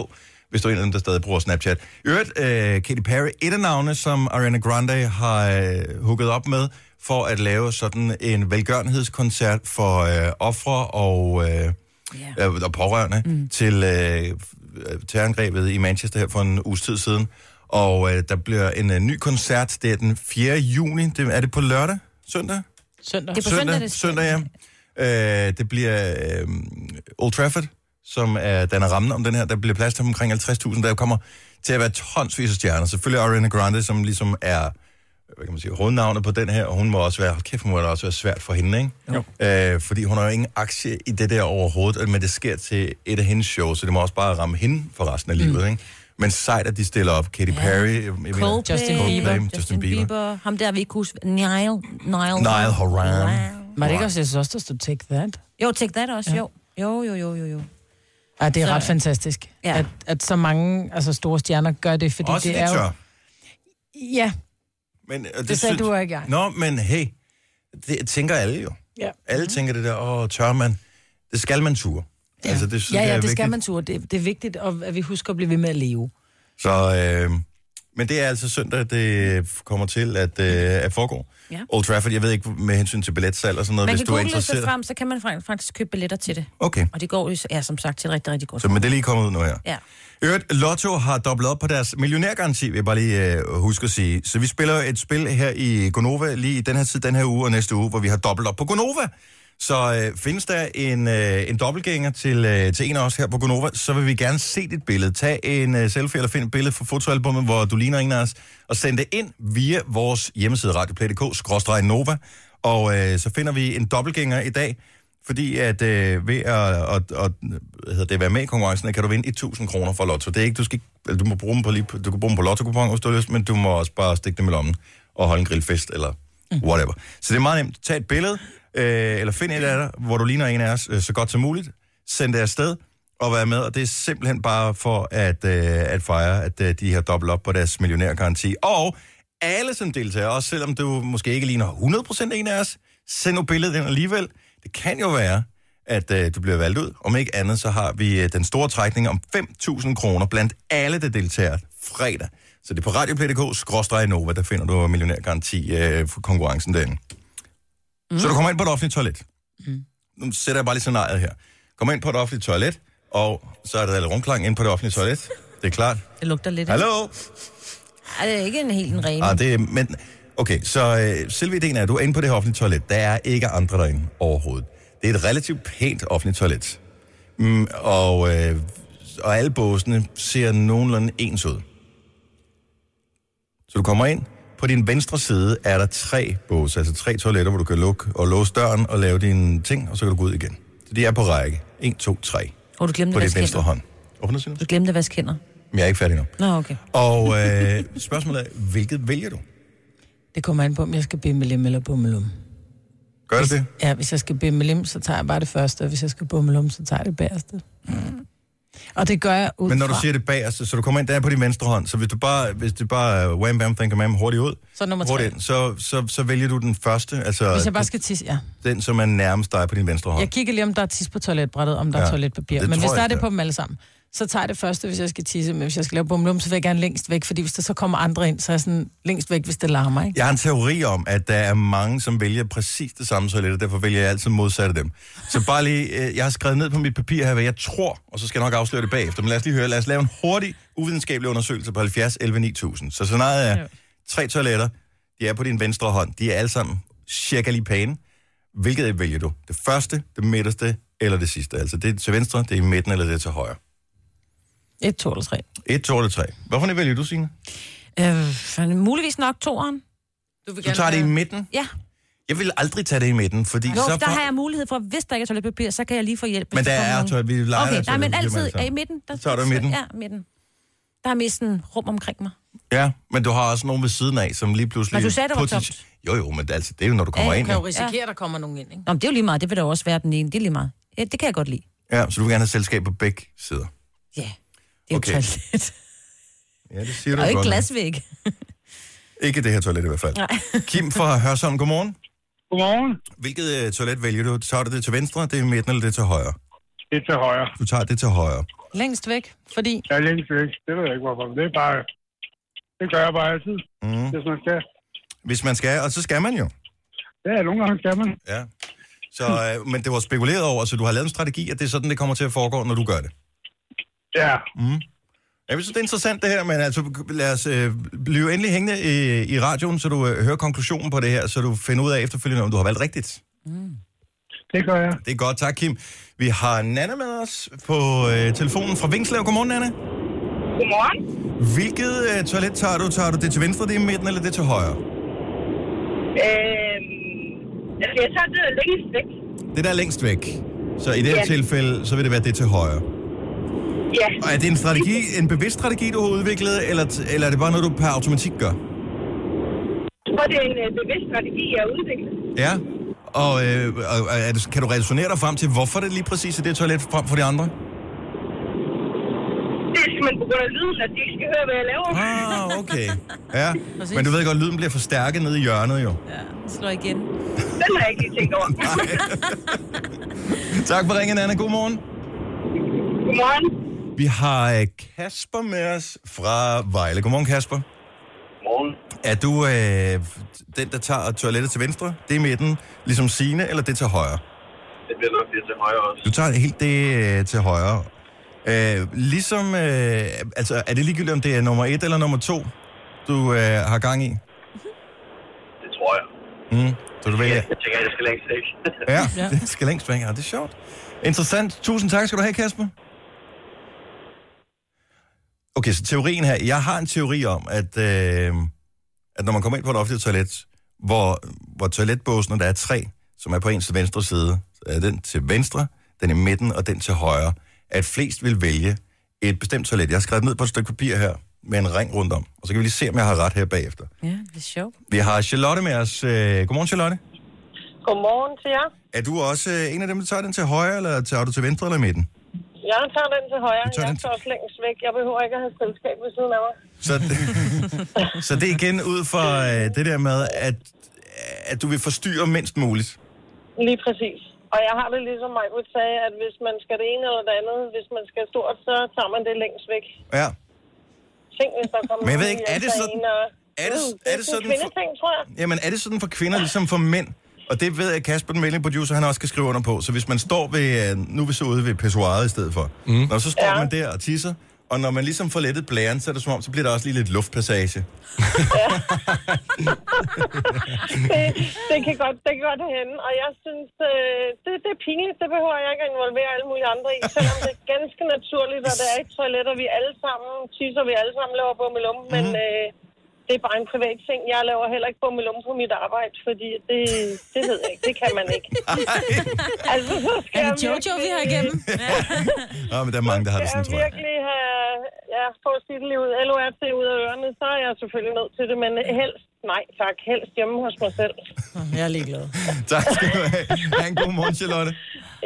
S1: hvis du er en af dem, der stadig bruger Snapchat. I øvrigt, øh, Katy Perry, et af navne, som Ariana Grande har øh, hugget op med, for at lave sådan en velgørenhedskoncert for øh, ofre og, øh,
S3: Ja.
S1: yeah. og pårørende mm. til øh, terrorangrebet i Manchester her for en uges tid siden. Og øh, der bliver en øh, ny koncert, det er den 4. juni. Det, er det på lørdag? Søndag?
S4: Søndag.
S3: Det er på søndag, det
S1: søndag, ja. Øh, det bliver øh, Old Trafford, som er, den er rammen om den her. Der bliver plads til omkring 50.000. Der kommer til at være tonsvis af stjerner. Selvfølgelig Ariana Grande, som ligesom er hvad kan man sige, hovednavnet på den her, og hun må også være, hold kæft, må det også være svært for hende, ikke? Jo. Øh, fordi hun har jo ingen aktie i det der overhovedet, men det sker til et af hendes shows, så det må også bare ramme hende for resten af
S4: Mm.
S1: livet, ikke? Men sejt, at de stiller op. Katy Perry, ja. jeg mener,
S3: Coldplay,
S4: Justin Bieber.
S1: Justin, Justin Bieber.
S3: Ham der, vi ikke huske. Niall. Niall.
S1: Niall Horan.
S4: Var det ikke også, jeg synes også, der stod take that?
S3: Jo, take that også, jo. Jo, jo, jo, jo, jo.
S4: Ja, det er
S3: Så-
S4: ret fantastisk,
S3: Ja.
S4: ja. at, at så mange altså store stjerner gør det, fordi
S1: Også
S4: det
S1: det
S4: er
S1: tør.
S4: jo... Ja,
S1: Men, øh,
S4: Det sagde du og ikke jeg.
S1: Nå, men hey, det tænker alle jo.
S4: Ja.
S1: Alle tænker det der, åh, tør man? Det skal man ture. Ja, altså, det, synes
S4: Mhm. ja,
S1: jeg
S4: ja
S1: er
S4: det skal
S1: vigtigt.
S4: man turde. Det, det er vigtigt, og at vi husker at blive ved med at leve.
S1: Så, øh, men det er altså søndag, det kommer til at, øh, at foregå.
S3: Ja.
S1: Old Trafford, jeg ved ikke med hensyn til billetsalg og sådan noget,
S3: Man
S1: hvis
S3: kan
S1: du er
S3: google sig
S1: interesseret.
S3: frem, så kan man fra- faktisk købe billetter til det.
S1: Okay,
S3: Og det går jo, ja, som sagt, til et rigtig, rigtig godt.
S1: så men det er lige kommet ud nu her.
S3: Ja.
S1: I Øvrigt, Lotto har dobblet op på deres millionærgaranti, vil jeg bare lige øh, huske at sige. Så vi spiller jo et spil her i Gonova lige i den her tid, den her uge og næste uge, hvor vi har dobbelt op på Gonova. Så øh, findes der en, øh, en dobbeltgænger til, øh, til en af os her på Gonova, så vil vi gerne se dit billede. Tag en øh, selfie eller find et billede fra fotoalbummet, hvor du ligner en af os, og send det ind via vores hjemmeside radioplay.dk-nova. Og øh, så finder vi en dobbeltgænger i dag, fordi at øh, ved at, at, at hvad hedder det, være med i konkurrencen, kan du vinde 1000 kroner fra Lotto. Det er ikke, du, skal ikke, eller du må bruge dem på, lige, du kan bruge dem på lotto hvis du har lyst, men du må også bare stikke dem i lommen og holde en grillfest eller Mm. whatever. Så det er meget nemt. Tag et billede, øh, eller find et af dig, hvor du ligner en af os øh, så godt som muligt. Send det afsted og være med, og det er simpelthen bare for at, øh, at fejre, at øh, de har dobbelt op på deres millionærgaranti. Og alle som deltager, også selvom du måske ikke ligner 100% en af os, send nu billedet ind alligevel. Det kan jo være, at øh, du bliver valgt ud. Om ikke andet, så har vi øh, den store trækning om 5.000 kroner blandt alle, der deltager fredag. Så det er på radioplay.dk-nova, der finder du millionærgaranti øh, for konkurrencen derinde. Mm. Så du kommer ind på et offentligt toilet. Mm. Nu sætter jeg bare lige scenariet her. Kommer ind på et offentligt toilet, og så er der lidt rumklang ind på det offentlige toilet. Det er klart.
S3: Det lugter lidt.
S1: Hallo?
S3: Ej, det er ikke en helt en ren.
S1: Ah, det er, men, okay, så øh, selve ideen er, at du er inde på det her offentlige toilet. Der er ikke andre derinde overhovedet. Det er et relativt pænt offentligt toilet. Mm, og, øh, og alle båsene ser nogenlunde ens ud. Så du kommer ind. På din venstre side er der tre båse, altså tre toiletter, hvor du kan lukke og låse døren og lave dine ting, og så kan du gå ud igen. Så de er på række. 1, 2, 3.
S3: Og du glemte
S1: På
S3: at
S1: din
S3: vaske
S1: venstre
S3: hænder.
S1: hånd. Åbner du?
S3: Du glemte at vaske hænder.
S1: Men jeg er ikke færdig nu.
S3: Nå, okay.
S1: Og øh, spørgsmålet er, hvilket vælger du?
S4: Det kommer an på, om jeg skal bimmelum eller bummelum.
S1: Gør det det?
S4: Ja, hvis jeg skal bimmelum, så tager jeg bare det første, og hvis jeg skal bummelum, så tager jeg det bagerste. Mm. Og det gør jeg ud
S1: Men når du
S4: fra...
S1: siger det bagerste, så du kommer ind der på din venstre hånd, så hvis du bare, hvis det bare er wham bam thank man hurtigt ud,
S4: Så nummer tre.
S1: hurtigt ind, så, så, så vælger du den første, altså
S4: Hvis jeg bare skal tisse, ja.
S1: den, som er nærmest dig på din venstre hånd.
S4: Jeg kigger lige, om der er tis på toiletbrættet, om der ja,
S1: Ja,
S4: er toiletpapir.
S1: det
S4: Men
S1: tror
S4: hvis der
S1: jeg,
S4: er det
S1: der
S4: på
S1: er.
S4: dem alle sammen, så tager jeg det første, hvis jeg skal tisse, men hvis jeg skal lave bumlum, så vil jeg gerne længst væk, fordi hvis der så kommer andre ind, så er jeg sådan længst væk, hvis det larmer, ikke?
S1: Jeg har en teori om, at der er mange, som vælger præcis det samme toilet, og derfor vælger jeg altid modsatte dem. Så bare lige, øh, jeg har skrevet ned på mit papir her, hvad jeg tror, og så skal jeg nok afsløre det bagefter. Men lad os lige høre, lad os lave en hurtig, uvidenskabelig undersøgelse på 70 11 9000. Så scenariet er tre toiletter, de er på din venstre hånd, de er alle sammen cirka lige pæne. Hvilket et vælger du? Det første, det midterste eller det sidste? Altså det er til venstre, det er i midten eller det er til højre.
S4: Et, to eller tre.
S1: Et, to eller tre. Hvorfor det vælger du, Signe?
S3: Øh, fanden, muligvis nok toeren.
S1: Du tager det i midten?
S3: Ja.
S1: Jeg vil aldrig tage det i midten, fordi
S3: Jo,
S1: så...
S3: der har jeg mulighed for, hvis der ikke er toiletpapir, så kan jeg lige få hjælp. hvis
S1: Men der
S3: kommer
S1: er
S3: nogen.
S1: toilet- vi leger, der er
S3: Okay, nej, men
S1: toiletpapir med
S3: altid
S1: det samme.
S3: er i midten. Der,
S1: Så tager du i midten.
S3: Ja, midten. Der er mest sådan rum omkring mig.
S1: Ja, men du har også nogen ved siden af, som lige pludselig...
S3: Men du sagde, det var tomt.
S1: Jo, jo, men altså, det er jo, når du kommer
S3: Ja,
S1: ind.
S4: Kan jo
S1: Jo.
S4: risikere, ja. der kommer nogen ind, ikke?
S3: Nå, men det er jo lige meget. Det vil der jo også være den ene. Det er lige meget. Ja, det kan jeg godt lide.
S1: Ja, så du vil gerne have selskab på begge sider.
S3: Ja, det er
S1: Okay.
S3: okay. jo toilet.
S1: Ja, det siger du
S3: Og ikke
S1: godt. nok.
S3: glasvæg.
S1: Ikke det her toilet i hvert fald. Nej. Kim fra Hørsholm, godmorgen.
S9: Godmorgen.
S1: Hvilket øh, toilet vælger du? Tager du det til venstre, det er i midten, eller det er til højre?
S9: Det er til højre.
S1: Du tager det til højre.
S4: Længst væk, fordi...
S9: Jeg er længst væk. Det ved jeg ikke, hvorfor. men Det er bare... Det gør jeg bare altid, mm. hvis man skal.
S1: Mhm. Hvis man skal, og så skal man jo.
S9: Ja, nogle gange skal man.
S1: Ja. Så, øh, men det var spekuleret over, så du har lavet en strategi, at det er sådan, det kommer til at foregå, når du gør det. Mhm.
S9: Ja,
S1: Jeg synes, det er interessant det her, men altså, lad os øh, blive endelig hængende i, i radioen, så du øh, hører konklusionen på det her, så du finder ud af efterfølgende, om du har valgt rigtigt.
S9: det gør jeg.
S1: Det er godt, tak Kim. Vi har Nana med os på øh, telefonen fra Vingslev. Godmorgen, Nana.
S10: Godmorgen.
S1: Hvilket øh, toilet tager du? Tager du det til venstre, det er i midten, eller det til højre?
S10: Øh, altså, jeg tager det længst væk.
S1: Det der er længst væk. Så i det her
S10: Ja.
S1: tilfælde, så vil det være det til højre.
S10: Ja.
S1: Og er det en strategi, en bevidst strategi, du har udviklet, eller, t- eller er det bare noget, du per automatik gør?
S10: Jeg tror, det er en øh, bevidst strategi, jeg har udviklet.
S1: Ja. Og, øh, og og er det, kan du resonere dig frem til, hvorfor det lige præcis er det toilet frem for de andre?
S10: Det er simpelthen på grund af lyden, at de ikke skal høre, hvad jeg laver.
S1: Ah, okay. Ja, men du ved godt, lyden bliver forstærket nede i hjørnet jo.
S3: Ja, det slår igen.
S10: Den har jeg ikke lige tænkt over.
S1: Tak for ringen, Anna. God morgen.
S10: Godmorgen.
S1: Vi har øh, Kasper med os fra Vejle. Godmorgen, Kasper.
S6: Morgen.
S1: Er du øh, den, der tager toilettet til venstre? Det er midten, ligesom sine, eller det til højre?
S6: Det bliver nok lidt til højre også.
S1: Du tager helt det øh, til højre. Øh, ligesom, øh, altså, er det ligegyldigt, om det er nummer et eller nummer to, du øh, har gang i?
S6: Det tror jeg.
S1: Mm, så du vælger.
S6: Jeg tænker, at jeg skal længst væk.
S1: Ja, det skal længst væk. Ja, det er sjovt. Interessant. Tusind tak skal du have, Kasper. Okay, så teorien her. Jeg har en teori om, at, øh, at når man kommer ind på et offentligt toilet, hvor, hvor toiletbåsene, der er tre, som er på ens venstre side, så er den til venstre, den i midten og den til højre, at flest vil vælge et bestemt toilet. Jeg har skrevet ned på et stykke papir her med en ring rundt om, og så kan vi lige se, om jeg har ret her bagefter.
S3: Ja, det er sjovt.
S1: Vi har Charlotte med os. Øh, Godmorgen, Charlotte.
S10: Godmorgen til jer.
S1: Er du også øh, en af dem, der tager den til højre, eller tager du til venstre eller i midten?
S10: Jeg tager den til højre.
S1: Du tager
S10: jeg
S1: den til-
S10: står også længst væk. Jeg behøver ikke at have selskab ved siden af mig.
S1: Så, så det er igen ud fra øh, det der med, at, at du vil forstyrre mindst muligt.
S10: Lige præcis. Og jeg har det ligesom mig sagde, at hvis man skal det ene eller det andet, hvis man skal stort, så tager man det længst væk.
S1: Ja.
S10: Tænk, hvis der kommer
S1: Men jeg ved
S10: nogen
S1: ikke,
S10: hjem
S1: er det
S10: fra
S1: sådan-
S10: en, og-
S1: er det-
S10: Mm,
S1: er det
S10: sådan
S1: sådan
S10: en
S1: for-
S10: kvindeting, tror jeg.
S1: Jamen er det sådan for kvinder, ligesom for mænd? Og det ved jeg, Kasper, den mailing producer, han også kan skrive under på. Så hvis man står ved, øh, nu er vi så ude ved pissoiret i stedet for. Mm. Når så står ja.
S10: Ja.
S1: man der og tisser, og når man ligesom får lettet blæren, så er det som om, så bliver der også lige lidt luftpassage.
S10: Det, det, kan godt, det kan godt hende. Og jeg synes, øh, det, det er pinligt. Det behøver jeg ikke at involvere alle mulige andre i. Selvom det er ganske naturligt, og det er et toilet, og vi alle sammen tisser, vi alle sammen laver bummelum. Men
S1: Mhm.
S10: øh, det er bare en privat ting. Jeg laver heller ikke bummelum på mit arbejde, fordi det, det ved jeg ikke. Det kan man ikke. altså, så skal
S4: Er
S10: jeg
S4: det Jojo, vi
S10: virkelig-
S4: har igennem?
S1: Nå, men der er mange, der har det
S10: jeg
S1: sådan, tror jeg.
S10: virkelig have ja, få sit liv LORT ud af ørerne, så er jeg selvfølgelig nødt til det, men helst, nej tak, helst hjemme hos mig selv.
S4: Jeg er ligeglad.
S1: Tak skal du have. Ha' en god morgen, Charlotte.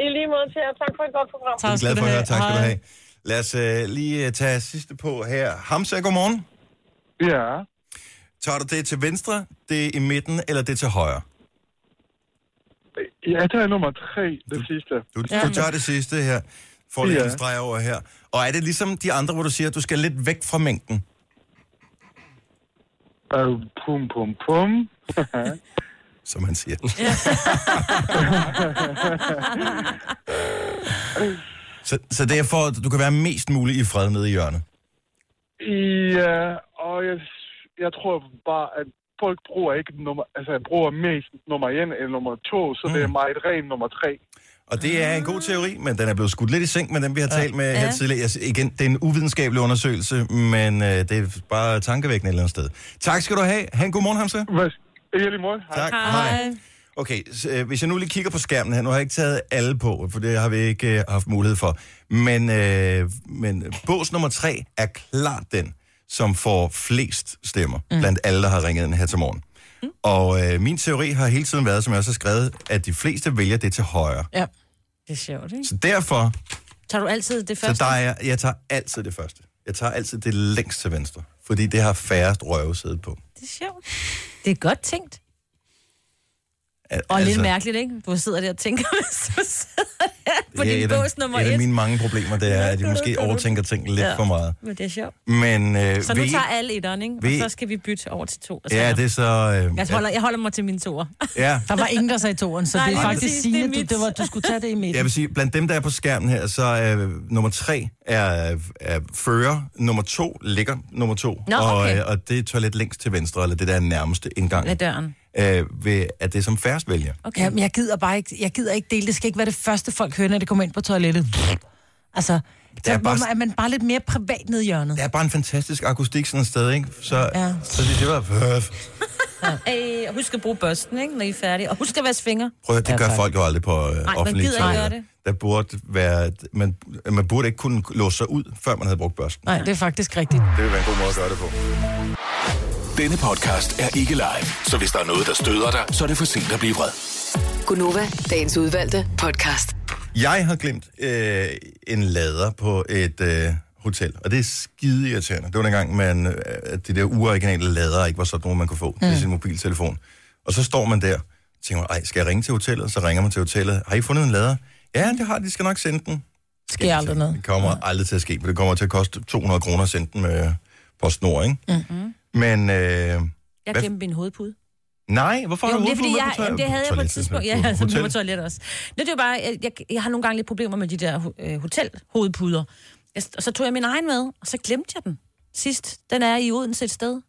S10: I lige måde til jer. Tak for et godt program.
S1: Jeg er
S4: Tak
S1: glad
S4: skal
S1: for at
S4: du have.
S1: høre. Tak skal du have. Lad os
S4: Hej.
S1: øh, lige øh, tage sidste på her. Hamza, godmorgen.
S9: Ja.
S1: Tager du det til venstre, det i midten, eller det til højre?
S9: Jeg tager nummer tre, det sidste.
S1: Du, ja. du tager det sidste her. får lige
S11: Ja.
S1: en streg over her. Og er det ligesom de andre, hvor du siger, at du skal lidt væk fra mængden?
S11: Øh, pum, pum, pum.
S1: Som man siger. så, så det er for, at du kan være mest muligt i fred nede i hjørnet.
S11: ja, og jeg, jeg tror bare, at folk bruger ikke nummer, altså jeg bruger mest nummer 1 eller nummer 2, så mm. det er meget ren nummer 3.
S1: Og det er en god teori, men den er blevet skudt lidt i seng med dem, vi har talt med her tidligere. Jeg, igen, det er en uvidenskabelig undersøgelse, men øh, det er bare tankevækkende et eller andet sted. Tak skal du have. Ha' en god morgen, Hamza.
S11: Ja, lige måde.
S1: Tak. Hej. Okay, så, øh, hvis jeg nu lige kigger på skærmen her, nu har jeg ikke taget alle på, for det har vi ikke øh, haft mulighed for. Men, øh, men bås nummer tre er klart den, som får flest stemmer mm. blandt alle, der har ringet ind her til morgen. Mm. Og øh, min teori har hele tiden været, som jeg også har skrevet, at de fleste vælger det til højre.
S4: Ja.
S3: Det er sjovt, ikke?
S1: Så derfor
S3: Tager du altid det
S1: så
S3: første?
S1: der er, jeg tager altid det første. Jeg tager altid det længst til venstre, fordi det har færrest røve siddet på.
S3: Det er sjovt. Det er godt tænkt.
S1: Al-
S3: Og altså, lidt mærkeligt, ikke? Du sidder der og tænker, så sidder der på
S1: det er
S3: din
S1: et af-
S3: bås nummer
S1: Et af
S3: et.
S1: mine mange problemer, det er, at jeg måske overtænker ting lidt
S3: Ja.
S1: for meget.
S3: Men det er sjovt.
S1: Men øh,
S3: Så nu
S1: ved I-
S3: tager alle etteren, ikke? Og
S1: ved-
S3: så skal vi bytte over til to. og
S1: Ja,
S3: treer.
S1: det er så... Øh,
S3: Jeg holder, jeg holder mig til mine toer.
S1: ja.
S4: Der var ingen, der sagde toren, så
S3: Nej,
S4: Nej, det er
S3: lige
S4: faktisk
S3: præcis, det er
S4: Signe,
S3: mit.
S4: du, det var, du skulle tage det i midten.
S1: Jeg vil sige, blandt dem, der er på skærmen her, så er øh, nummer tre er, er fører, nummer to ligger nummer to,
S3: Nå,
S1: og,
S3: okay.
S1: øh, og det er toilet længst til venstre, eller det der er nærmeste indgang,
S3: Med døren.
S1: øh, ved, at det er som færrest vælger.
S3: Okay.
S4: Jamen, jeg gider bare ikke, jeg gider ikke dele. Det skal ikke være det første, folk hører, når det kommer ind på toilettet. Altså, så
S1: er
S4: er,
S1: bare-
S4: bare... er man bare lidt mere privat nede i hjørnet.
S1: Der er bare en fantastisk akustik sådan et sted, ikke? Så, ja.
S4: Ja.
S1: så det, det var...
S3: Øh, og husk at bruge børsten, ikke, når I er færdige. Og husk at vaske fingre.
S1: Prøv at høre, det gør
S4: Ja, tak.
S1: folk jo aldrig på øh,
S3: man
S1: offentlige
S3: gider ikke
S1: toiletter.
S3: gøre det.
S1: Der burde være... Man, man burde ikke kunne låse sig ud, før man havde brugt børsten.
S4: Nej, det er faktisk rigtigt.
S1: Det vil være en god måde at gøre det på.
S6: Denne podcast er ikke live, så hvis der er noget, der støder dig, så er det for sent at blive vred.
S2: Gunova, dagens udvalgte podcast.
S1: Jeg har glemt øh, en lader på et øh, hotel, og det er skide irriterende. Det var dengang, man, øh, at de der uoriginale lader ikke var sådan nogle, man kunne få mm. til sin mobiltelefon. Og så står man der og tænker, man, ej, skal jeg ringe til hotellet? Så ringer man til hotellet. Har I fundet en lader? Ja, det har de. De skal nok sende den.
S4: Sker aldrig noget.
S1: Det kommer ja. aldrig til at ske, for det kommer til at koste 200 kroner at sende den med PostNord, ikke? Mm-hmm. Men øh,
S3: Mhm. Jeg
S1: Hvad-
S3: glemte min hovedpude.
S1: nej, hvorfor har
S3: Jo,
S1: du
S3: men det
S1: hovedpude
S3: er fordi,
S1: med
S3: jeg,
S1: på
S3: jamen,
S1: toilettet?
S3: det havde jeg på et
S1: Toilettet,
S3: tidspunkt.
S1: på
S3: Ja, altså, det var
S1: hotellet.
S3: toilet også. Nå, det var bare, jeg, jeg, jeg har nogle gange lidt problemer med de der øh, hotelhovedpuder. Jeg, og så tog jeg min egen med, og så glemte jeg den sidst. Den er i Odense et sted.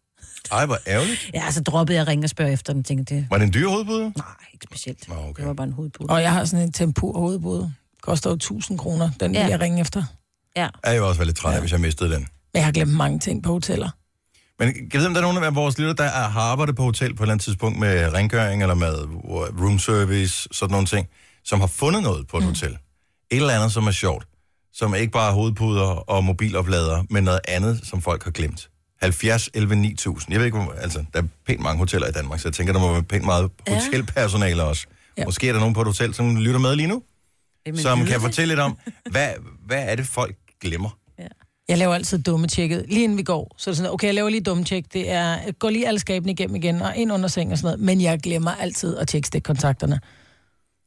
S1: Ej, hvor ærgerligt.
S3: Ja, altså, så droppede jeg at ringe og spørge efter den, tænkte det.
S1: Var det en dyr hovedpude?
S3: Nej, ikke specielt.
S1: Nå, okay.
S3: Det var bare en hovedpude.
S4: Og jeg har sådan en tempur hovedbåd. Koster jo 1000 kroner. Den vil
S3: Ja.
S4: jeg ringe efter.
S3: Ja.
S1: Ja, Jeg var også være lidt træt af, hvis jeg mistede den.
S4: Men jeg har glemt mange ting på hoteller.
S1: Men kan jeg vide, om der er nogen af vores lytter, der er- har arbejdet på hotel på et eller andet tidspunkt med rengøring eller med room service, sådan nogle ting, som har fundet noget på et mm. hotel. Et eller andet, som er sjovt. Som ikke bare er hovedpuder og mobiloplader, men noget andet, som folk har glemt. 70, 11, 9000. Jeg ved ikke, hvor, altså, der er pænt mange hoteller i Danmark, så jeg tænker, der må være pænt meget hotelpersonale også. Ja.
S4: Ja.
S1: Måske er der nogen på et hotel, som lytter med lige nu,
S3: Jamen,
S1: som
S3: det-
S1: kan fortælle lidt om, hvad, hvad er det, folk glemmer?
S4: Jeg laver altid dumme tjekket. Lige inden vi går, så er det sådan, okay, jeg laver lige dumme tjek. Det er, gå lige alle skabene igennem igen, og ind under sengen og sådan noget. Men jeg glemmer altid at tjekke stikkontakterne.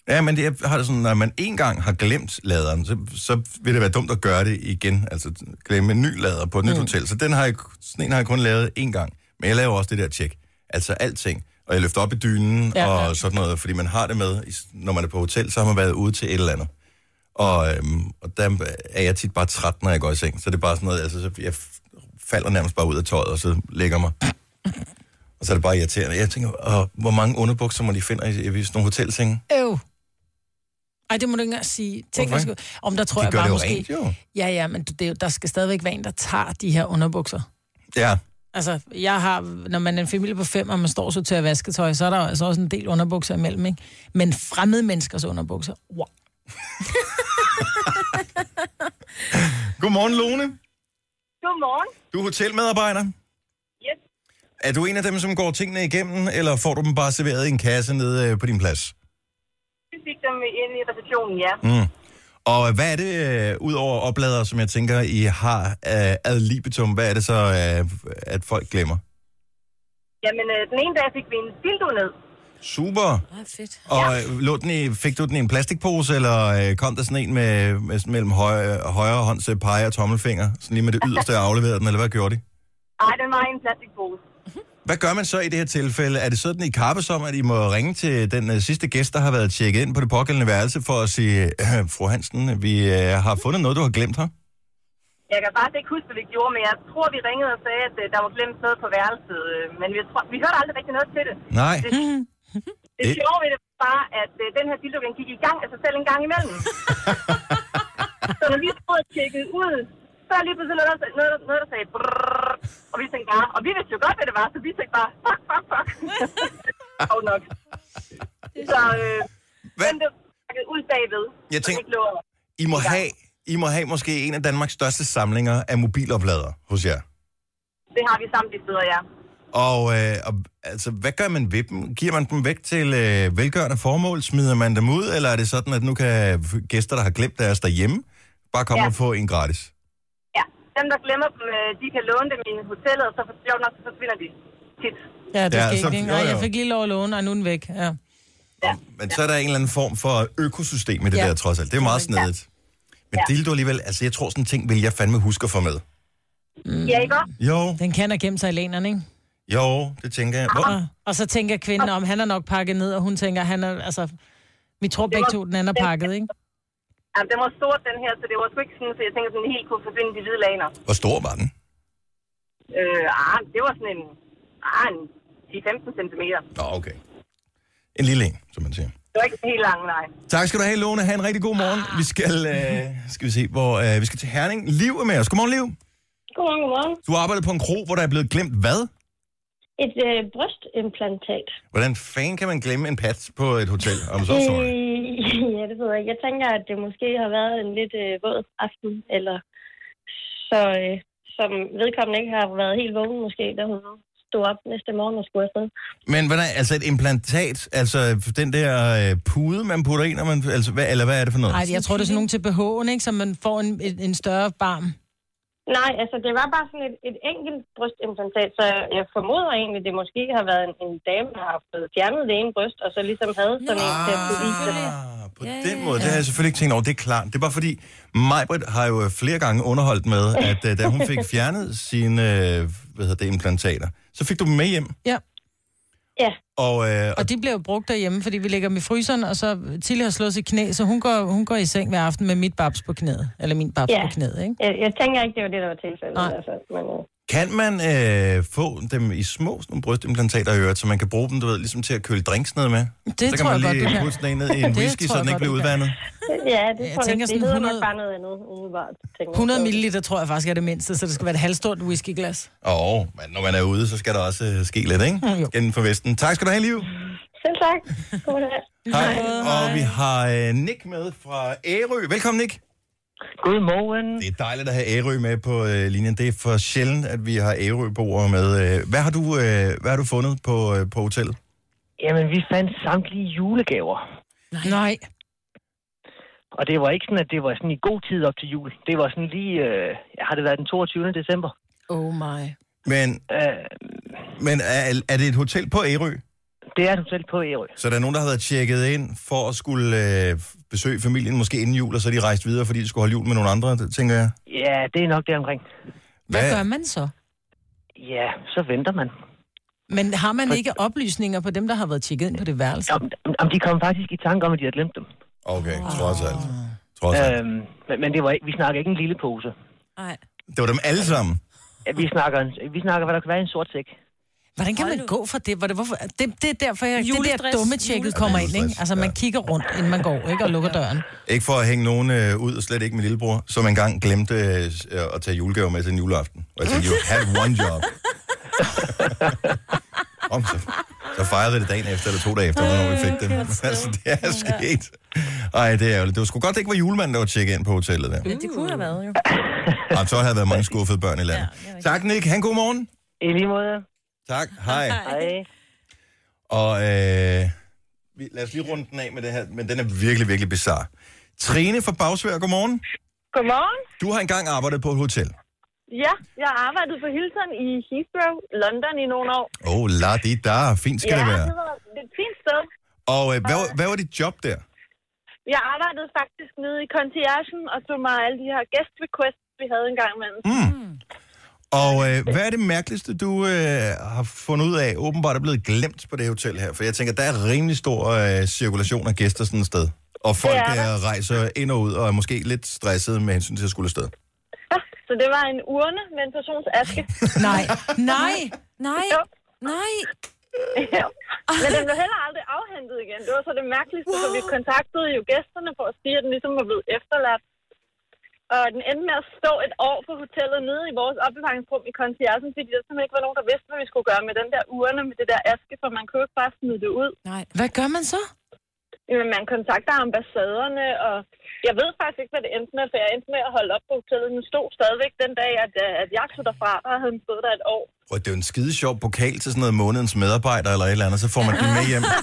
S1: Ja, men det er, har det sådan, når man en gang har glemt laderen, så, så vil det være dumt at gøre det igen. Altså glemme en ny lader på et nyt mm. hotel. Så den har jeg, sådan en har jeg kun lavet en gang. Men jeg laver også det der tjek. Altså alting. Og jeg løfter op i dynen ja,
S4: Ja,
S1: og
S4: ja.
S1: sådan noget, fordi man har det med, i s- når man er på hotel, så har man været ude til et eller andet. Og, øhm, og der er jeg tit bare træt, når jeg går i seng. Så det er bare sådan noget, altså så jeg f- falder nærmest bare ud af tøjet, og så lægger mig. Og så er det bare irriterende. Jeg tænker, og hvor mange underbukser må de finde i, i sådan nogle hotelsenge?
S4: Øv. Ej, det må du ikke engang sige. Tænk,
S1: Hvorfor
S4: jeg skulle... Om der tror
S1: De
S4: jeg
S1: gør
S4: bare
S1: det jo
S4: måske...
S1: rent, jo.
S4: Ja, ja, men det, er jo- der skal stadigvæk være en, der tager de her underbukser.
S1: Ja.
S4: Altså, jeg har, når man er en familie på fem, og man står så til at vaske tøj, så er der jo altså også en del underbukser imellem, ikke? Men fremmede menneskers underbukser, wow.
S1: Godmorgen, Lone.
S5: Godmorgen.
S1: Du er hotelmedarbejder.
S5: Yes.
S1: Er du en af dem, som går tingene igennem, eller får du dem bare serveret i en kasse nede øh, på din plads?
S5: Vi fik dem ind i receptionen, ja.
S1: Mm. Og hvad er det, øh, ud over oplader, som jeg tænker, I har øh, ad libitum, hvad er det så, øh, at folk glemmer?
S5: Jamen, øh, den ene dag fik vi en dildo ned.
S1: Super.
S3: Ej, fedt.
S1: Og øh, lå den i, fik du den i en plastikpose, eller øh, kom der sådan en med, med sådan mellem højre, højre hånds øh, pege og tommelfinger, sådan lige med det yderste og afleverede den, eller hvad gjorde de?
S12: Nej, den var i en plastikpose.
S1: Hvad gør man så i det her tilfælde? Er det sådan i kappes om, at I må ringe til den øh, sidste gæst, der har været tjekket ind på det pågældende værelse, for at sige, øh, fru Hansen, vi øh, har fundet noget, du har glemt her?
S12: Jeg kan faktisk ikke huske, hvad vi gjorde, men jeg tror, vi ringede og sagde, at øh, der var glemt noget på værelset. øh, Men vi, tror, vi hørte aldrig rigtig noget til det.
S1: Nej.
S12: Det, det
S1: Det-
S12: sjove ved det var bare, at øh, den her dildo, den gik i gang af sig selv en gang imellem. så når vi stod og tjekkede ud, så er lige pludselig noget, der, sag- noget, der- noget, der sagde brrrr, og vi tænkte bare, og vi vidste jo godt, hvad det var, så vi tænkte bare, fuck, fuck, fuck. og nok. Så øh, den blev pakket ud bagved.
S1: Jeg
S12: så
S1: tænker-
S12: den ikke lå over.
S1: I må, have, I må have måske en af Danmarks største samlinger af mobilopladere hos jer.
S12: Det har vi samt de steder, ja.
S1: Og, øh, og altså, hvad gør man ved dem? Giver man dem væk til øh, velgørende formål? Smider man dem ud? Eller er det sådan, at nu kan gæster, der har glemt deres derhjemme, bare komme
S12: Ja.
S1: ja. og få en gratis?
S12: Ja, dem der glemmer dem, øh, de kan låne dem i hotellet, og så for sjovt nok, så forsvinder de tit.
S4: Ja, det
S1: Ja,
S4: ja, skal
S1: så-
S4: ikke.
S1: jo,
S4: Nej,
S1: jo.
S4: jeg fik lige lov at låne, og nu er den væk. Ja.
S1: Men så er der en eller anden form for økosystem i det ja.
S4: Ja.
S1: der, trods alt. Det er jo meget snedigt. Men ja. dildo alligevel, altså jeg tror sådan en ting, vil jeg fandme huske at få med.
S4: Mm.
S12: Ja, ikke også?
S1: Jo,
S4: Den kan have gemt sig i læneren, ikke?
S1: jo, det tænker jeg. Hvor?
S4: Og, og så tænker kvinden om, han er nok pakket ned, og hun tænker, han er, altså... Vi tror begge to, den anden er pakket, ikke?
S12: Ja, den var stor, den her, så det var sgu ikke sådan, så jeg tænkte, at den helt kunne forsvinde de hvide laner.
S1: Hvor stor var den?
S12: Øh, ah, det var sådan en, ah, en 10-15 cm.
S1: Nå, okay. En lille en, som man siger.
S12: Det var ikke helt lang, nej.
S1: Tak skal du have, Lone. Ha' en rigtig god morgen. Vi skal, øh, skal vi se, hvor øh, vi skal til Herning. Liv er med os. Godmorgen, Liv.
S13: Godmorgen, godmorgen.
S1: Du arbejder på en kro, hvor der er blevet glemt hvad?
S13: Et øh, brystimplantat.
S1: Hvordan fanden kan man glemme en pat på et hotel? Om så sorry.
S13: Øh, ja, det ved jeg ikke. Jeg tænker, at det måske har været en lidt øh, våd aften, eller så, øh, som vedkommende ikke har været helt vågen måske, da hun stod op næste morgen og skulle afsted.
S1: Men hvordan, altså et implantat, altså den der øh, pude, man putter ind, og man, altså, hvad, eller hvad er det for noget?
S4: Nej, jeg tror, det er sådan nogen til BH'en, ikke? Så man får en, en, en større barm.
S13: Nej, altså det var bare sådan et, et enkelt brystimplantat, så jeg formoder egentlig, det måske har været en, en dame, der har fået fjernet det ene bryst, og så ligesom havde sådan en til at kunne vise
S3: Ah.
S13: det.
S1: På den måde, det har jeg selvfølgelig ikke tænkt over, det er klart. Det er bare fordi, Majbrit har jo øh, flere gange underholdt med, at øh, da hun fik fjernet sine øh, hvad hedder det, implantater, så fik du dem med hjem.
S4: Ja.
S13: Ja.
S1: Og, øh, og
S4: Og de bliver jo brugt derhjemme, fordi vi lægger dem i fryseren, og så Tilly har slået sit knæ, så hun går, hun går i seng hver aften med mit babs på knæet. Eller min babs
S13: Ja.
S4: på knæet, ikke?
S13: Jeg, jeg tænker ikke, det var det, der var tilfældet i hvert fald. Men, øh,
S1: Kan man øh, få dem i små sådan nogle brystimplantater i øret, så man kan bruge dem, du ved, ligesom til at køle drinks ned med? så kan
S4: tror
S1: man
S4: jeg godt,
S1: lige
S4: du kan.
S1: putte sådan en ned i en
S4: Det
S1: whisky,
S4: tror
S1: så
S4: jeg
S1: den ikke
S4: godt,
S1: bliver
S4: du kan.
S1: udvandet.
S13: ja, det
S4: Jeg
S13: tror jeg,
S4: tænker
S13: det
S4: sådan
S13: hedder
S4: 100
S13: nok bare noget andet, umiddelbart. tænker jeg.
S4: 100 ml tror jeg faktisk er det mindste, så det skal være et halvstort whiskyglas.
S1: Og men når man er ude, så skal der også øh, ske lidt, ikke?
S4: Jo.
S1: Inden for Vesten. Tak skal du have, Liv.
S13: Selv tak. Goddag.
S1: Hej. Og vi har øh, Nick med fra Ærø. Velkommen, Nick. Godmorgen. Det er dejligt at have Ærø med på øh, linjen. Det er for sjældent, at vi har Ærø-boere med. Øh, Hvad har du, øh, hvad har du fundet på, øh, på hotellet?
S14: Jamen, vi fandt samtlige julegaver.
S4: Nej.
S14: Og det var ikke sådan, at det var sådan i god tid op til jul. Det var sådan lige, øh, har det været den 22. december?
S4: Oh my.
S1: Men,
S14: Øh,
S1: men er, er det et hotel på Ærø?
S14: det er et hotel på øh, Ærø.
S1: Så der er nogen, der har været tjekket ind for at skulle øh, besøge familien, måske inden jul, og så er de rejst videre, fordi de skulle holde jul med nogle andre, det tænker jeg.
S14: Ja, det er nok deromkring.
S4: Hvad, gør man så?
S14: Ja, så venter man.
S4: Men har man ikke oplysninger på dem, der har været tjekket ind på det værelse?
S14: Om, om de kom faktisk i tanke om, at de havde glemt dem.
S1: Okay, trods alt. Trods alt.
S14: Øhm, men, men det var ikke, vi snakker ikke en lille pose.
S3: Nej.
S1: Det var dem alle sammen.
S14: Ja, Vi snakker, en- vi snakker, hvad der kan være i en sort sæk.
S4: Hvordan kan man gå for det? Hvor det, hvorfor? det, det er derfor, jeg, det der
S3: Julestress.
S4: dumme tjekket kommer ind. Ikke? Altså, man kigger rundt, inden man går, ikke? og lukker døren.
S1: Ikke for at hænge nogen øh, ud, og slet ikke min lillebror, som engang glemte øh, at tage julegaver med til en juleaften. Og jeg tænkte, you had one job. Om, så, så fejrede vi det dagen efter, eller to dage efter, hvornår vi fik dem. altså, det er sket. Ej, det er ærgerligt. Det var sgu godt, det ikke var julemanden, der var tjekket ind på hotellet der.
S3: Ja, det kunne have været jo.
S1: Og så har der været mange skuffede børn i landet. Ja, tak, Nick. Han god morgen.
S14: I lige måde.
S1: Tak. Hej.
S14: Hej.
S1: Og øh, vi- lad os lige runde den af med det her, men den er virkelig, virkelig bizarre. Trine fra Bagsvær, godmorgen.
S15: Godmorgen.
S1: Du har engang arbejdet på et hotel.
S15: Ja, jeg arbejdede på Hilton i Heathrow, London i nogle år.
S1: Oh, la di da. Fint skal
S15: ja,
S1: det
S15: Det
S1: være.
S15: var, det er et fint sted.
S1: Og øh, hvad, var- hvad var dit job der?
S15: Jeg arbejdede faktisk nede i conciergen og tog mig alle de her guest requests, vi havde engang imellem.
S1: Mm. Og øh, hvad er det mærkeligste, du øh, har fundet ud af, åbenbart er blevet glemt på det hotel her? For jeg tænker, der er rimelig stor øh, cirkulation af gæster sådan et sted. Og folk
S15: Det er der.
S1: der rejser ind og ud, og er måske lidt stressede med hensyn til at skulle afsted.
S15: Så det var en urne med en persons aske.
S3: Nej, nej, nej, nej.
S15: Men den blev heller aldrig afhentet igen. Det var så det mærkeligste, for vi kontaktede jo gæsterne for at sige, at den ligesom var blevet efterladt. Og den endte med at stå et år på hotellet nede i vores opbevaringsrum i conciergen, fordi der simpelthen ikke var nogen, der vidste, hvad vi skulle gøre med den der urne med det der aske, for man kunne jo ikke bare smide det ud.
S3: Nej.
S4: Hvad gør man så?
S15: Jamen, man kontakter ambassaderne, og jeg ved faktisk ikke, hvad det endte med, for jeg endte med at holde op på hotellet. Den stod stadigvæk den dag, at, øh, at jeg tog derfra, der havde den stået der et år.
S1: Og det er jo en skide sjov pokal til sådan noget månedens medarbejder eller et eller andet, så får man den med hjem.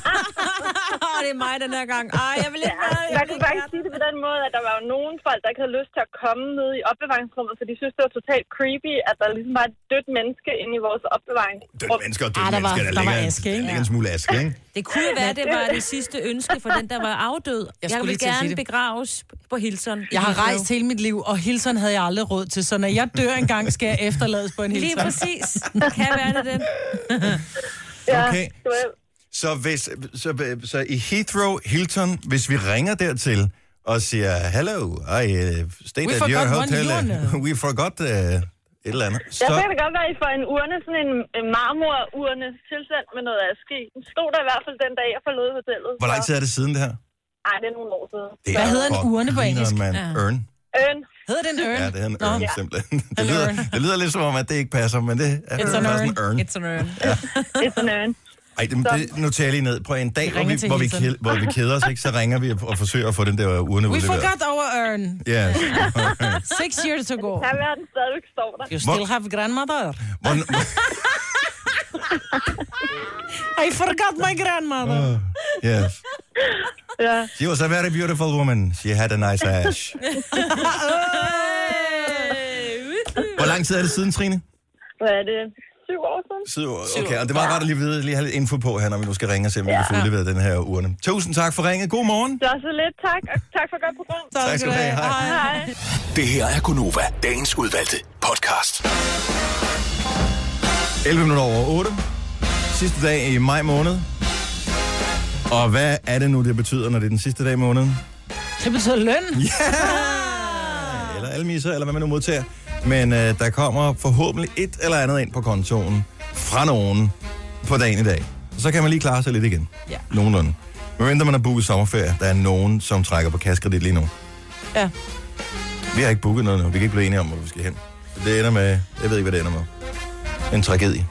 S3: Åh, det er mig den her gang. Ej, jeg vil ikke
S15: ja,
S3: være- jeg
S15: Man
S3: vil
S15: kunne
S3: ikke
S15: bare ikke sige det på den måde, at der var jo nogen folk, der ikke havde lyst til at komme ned i opbevaringsrummet, for de synes, det var totalt creepy, at der ligesom var et dødt menneske inde i vores opbevaringsrum.
S1: Dødt mennesker og dødt
S15: Ah, der var-
S1: mennesker, der,
S15: der var
S1: ligger, en-
S15: aske,
S1: der
S15: ikke?
S1: ligger en smule aske, ikke?
S3: Det kunne jo være, det var det sidste ønske for den, der var afdød. Jeg, jeg
S4: skulle
S3: vil
S4: lige til at sige
S3: gerne
S4: det.
S3: begraves på Hilson.
S4: Jeg har rejst hele mit liv, og hilsen havde jeg aldrig råd til, så når jeg dør engang, skal jeg efterlades på en hilsen.
S3: Lige præcis. Det kan være det, det.
S1: Okay. Så, hvis, så, så i Heathrow, Hilton, hvis vi ringer dertil og siger, hello, I uh, stayed
S15: We
S1: at your
S15: forgot one
S1: hotel.
S15: urne."
S1: we forgot uh, et eller andet.
S15: Jeg
S1: Så,
S15: kan det godt være, at I får en urne, sådan en en marmorurne, tilsendt med noget aske. i. Den stod der i hvert fald den dag, jeg forlod hotellet.
S1: hvor lang tid er det siden det her?
S15: Nej, det er nogle år siden.
S1: Det
S15: Så-
S1: er for grineren, mand. Ørn.
S15: Ørn.
S4: Hedder den ørn?
S1: Ja, det er en ørn, ja. simpelthen. Det lyder, det lyder lidt som om, at det ikke passer, men det er
S4: It's an
S1: faktisk
S4: urn.
S1: en ørn.
S4: It's an urn.
S15: It's an urn.
S1: Ej, det, det noterer jeg lige ned. Prøv en dag,
S4: Vi
S1: hvor
S4: ringer
S1: vi,
S4: til
S1: hvor, vi,
S4: Hilton.
S1: ked- hvor vi keder os, ikke? så ringer vi og, og forsøger at få den der urne
S4: We
S1: udleveret.
S4: forgot our urn.
S1: Ja.
S4: Six years ago.
S15: Kan være, den stadigvæk står der.
S4: You still have grandmother. I forgot my grandmother.
S1: Ah. Yes.
S15: Ja.
S1: She was a very beautiful woman. She had a nice ass. Hvor lang tid er det siden, Trine?
S15: Hvad er det? Syv år siden?
S1: Syv år. Okay, og det var ret at lige, vide, lige have lidt info på her, når vi nu skal ringe og se, om vi kan få udleveret den her urne. Tusind tak for ringet. God morgen.
S15: Det var så lidt. Tak, og tak for godt program.
S1: Tak skal du have. Hej.
S15: Hej.
S6: Det her er Gunova, dagens udvalgte podcast.
S1: 11 minutter over 8. Sidste dag i maj måned. Og hvad er det nu, det betyder, når det er den sidste dag i måneden?
S4: Det betyder løn.
S1: Eller almiser, eller hvad man nu modtager. Men øh, der kommer forhåbentlig et eller andet ind på kontoen fra nogen på dagen i dag. Så kan man lige klare sig lidt igen.
S4: Ja.
S1: Nogenlunde. Men venter man har booket sommerferie, der er nogen, som trækker på kaskredit lige nu.
S4: Ja.
S1: Vi har ikke booket noget nu. Vi kan ikke blive enige om, hvor vi skal hen. Så Det ender med, jeg ved ikke, hvad det ender med. En tragedie.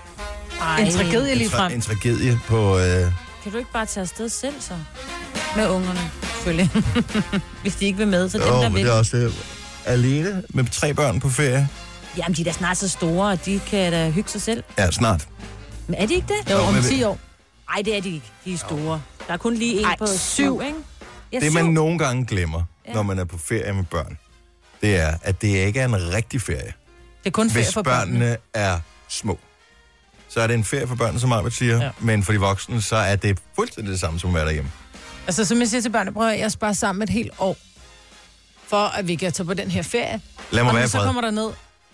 S3: Ej.
S4: En tragedie lige
S1: en,
S4: frem.
S1: en tragedie på... Øh,
S3: Kan du ikke bare tage afsted selv så? Med ungerne, selvfølgelig. Hvis de ikke vil med, så dem,
S1: jo,
S3: der
S1: men
S3: vil.
S1: det er også det. Alene med tre børn på ferie.
S3: Jamen, de er da snart så store, og de kan da hygge sig selv.
S1: Ja, snart.
S3: Men er de ikke det?
S1: Jo, Jo, om men- 10
S3: år. Nej, det er de ikke. De er store. Der er kun lige en
S4: Ej,
S3: på
S4: syv.
S3: syv, ikke? Ja,
S1: det, man
S3: syv.
S1: nogle gange glemmer,
S3: Ja.
S1: ja. når man er på ferie med børn, det er, at det ikke er en rigtig ferie.
S4: Det er kun ferie
S1: Hvis
S4: for
S1: børnene
S4: børnene.
S1: er små, så er det en ferie for børnene, som Arbet siger,
S4: Ja.
S1: ja. men for de voksne, så er det fuldstændig det samme, som at være derhjemme.
S4: Altså, som jeg siger til børnene, prøv at høre, jeg sparer sammen et helt år, for at vi kan tage på den her ferie.
S1: Lad mig
S4: og når
S1: være
S4: vi
S1: i
S4: så
S1: fred.
S4: kommer der ned,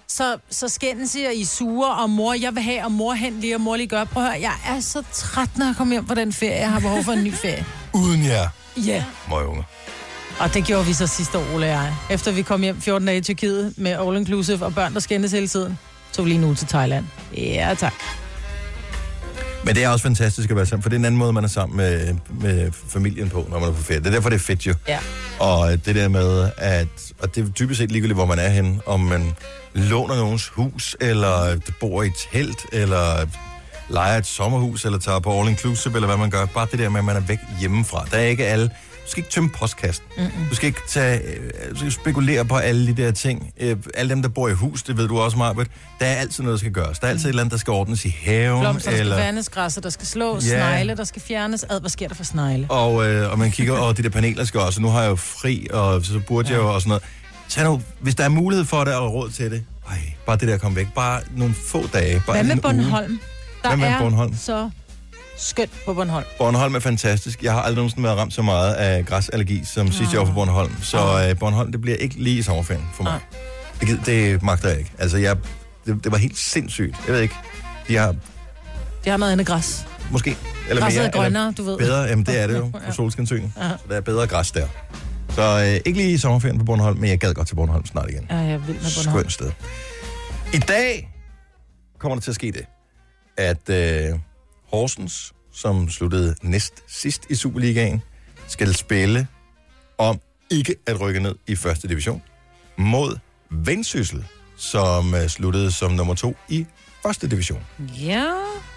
S4: så, så skændes I, og I er sure, og mor, jeg vil have, og mor hent lige, og mor lige gør. Prøv at høre, jeg er så træt, når jeg kommer hjem på den ferie. Jeg har behov for en ny ferie.
S1: Uden jer,
S4: Ja. Yeah.
S1: møgunger.
S4: Og det gjorde vi så sidste år, Ole og jeg. Efter vi kom hjem 14 dage i Tyrkiet med all inclusive og børn, der skændes hele tiden, tog vi lige nu til Thailand. Ja, tak.
S1: Men det er også fantastisk at være sammen, for det er en anden måde, man er sammen med, med familien på, når man er på ferie. Det er derfor, det er fedt jo.
S4: Ja.
S1: Og det der med, at og det er typisk set ligegyldigt, hvor man er henne, om man låner nogens hus, eller bor i et telt, eller leger et sommerhus, eller tager på all inclusive, eller hvad man gør. Bare det der med, at man er væk hjemmefra. Der er ikke alle... Du skal ikke tømme postkassen. Mm-mm. Du skal ikke tage, øh, du skal spekulere på alle de der ting. Øh, alle dem, der bor i hus, det ved du også, Marbet. Der er altid noget, der skal gøres. Der er altid et eller andet, der skal ordnes i haven.
S4: Blomster, der
S1: eller...
S4: skal vandes, græsser, der skal slås,
S1: Ja.
S4: yeah. snegle, der skal fjernes. Ad, hvad sker der for snegle?
S1: Og, øh, og man kigger, og de der paneler skal også, nu har jeg jo fri, og så burde ja. jeg jo, og sådan noget. Tag nu, hvis der er mulighed for det, og råd til det, ej, bare det der at komme væk, bare nogle få dage. Bare
S4: Hvad med
S1: en uge.
S4: Bornholm? Der
S1: Hvad med
S4: er
S1: Bornholm?
S4: så skønt på Bornholm.
S1: Bornholm er fantastisk. Jeg har aldrig nogensinde været ramt så meget af græsallergi som oh. sidste år på Bornholm. Så øh, Bornholm, det bliver ikke lige i sommerferien for mig. Det, gid- det magter jeg ikke. Altså, jeg, det, det var helt sindssygt. Jeg ved ikke. De har
S4: Det har noget andet græs.
S1: måske...
S4: Græsset er
S1: eller
S4: grønnere, du ved.
S1: Bedre, jamen det er det jo på Solskensøen. Ja. Så der er bedre græs der. Så øh, ikke lige i sommerferien på Bornholm, men jeg gad godt til Bornholm snart igen.
S4: Ja, jeg vil med Bornholm.
S1: Skønt sted. I dag kommer der til at ske det, at øh, Horsens, som sluttede næst sidst i Superligaen, skal spille om ikke at rykke ned i første division mod Vendsyssel, som øh, sluttede som nummer to i første division.
S3: Ja.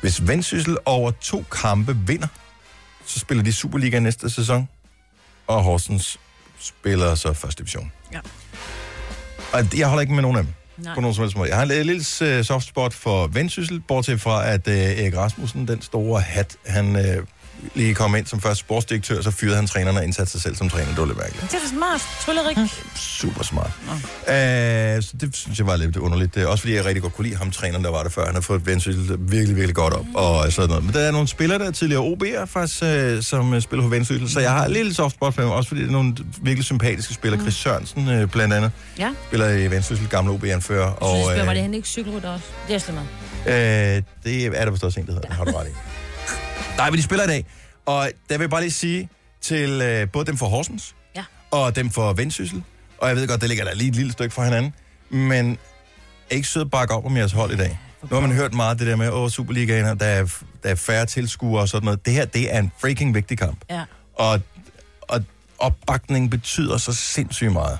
S1: Hvis Vendsyssel over to kampe vinder, så spiller de Superliga næste sæson, og Horsens spiller så første division.
S3: Ja.
S1: Og jeg holder ikke med nogen af dem.
S3: Nej.
S1: På nogen som helst måde. Jeg har en lille øh, soft spot for Vendsyssel, bortset fra, at øh, Erik Rasmussen, den store hat, han øh, lige kom ind som første sportsdirektør, så fyrede han træneren og indsatte sig selv som træner. Det var lidt mærkeligt.
S3: Det er da smart. Tryllerik.
S1: Super smart. Øh, så det synes jeg var lidt underligt. Det er Også fordi jeg rigtig godt kunne lide ham, træneren, der var der før. Han har fået Vendsyssel virkelig, virkelig godt op og sådan noget. Men der er nogle spillere, der er tidligere OB'er faktisk, øh, som øh, spiller for Vendsyssel. Så jeg har en lille soft spot for dem, også fordi det er nogle virkelig sympatiske spillere.
S3: Mm.
S1: Chris Sørensen øh, blandt andet
S3: Ja.
S1: spiller i Vendsyssel, gamle OB-anfører.
S3: Og,
S1: Og,
S3: så spørger, var
S1: øh,
S3: det han ikke cykelrytter også? Det er slet meget.
S1: Øh, det er der vist også en, der hedder. Det har du ret i. Nej, men de spiller i dag. Og der vil jeg bare lige sige til øh, både dem fra Horsens,
S3: Ja.
S1: og dem fra Vendsyssel, og jeg ved godt, der ligger der lige et lille stykke fra hinanden, men er ikke søde bakke op om jeres hold i dag. Nu har man hørt meget det der med, åh, Superligaen, og der er, der er færre tilskuere og sådan noget. Det her, det er en freaking vigtig kamp.
S3: Ja.
S1: Og, og opbakning betyder så sindssygt meget.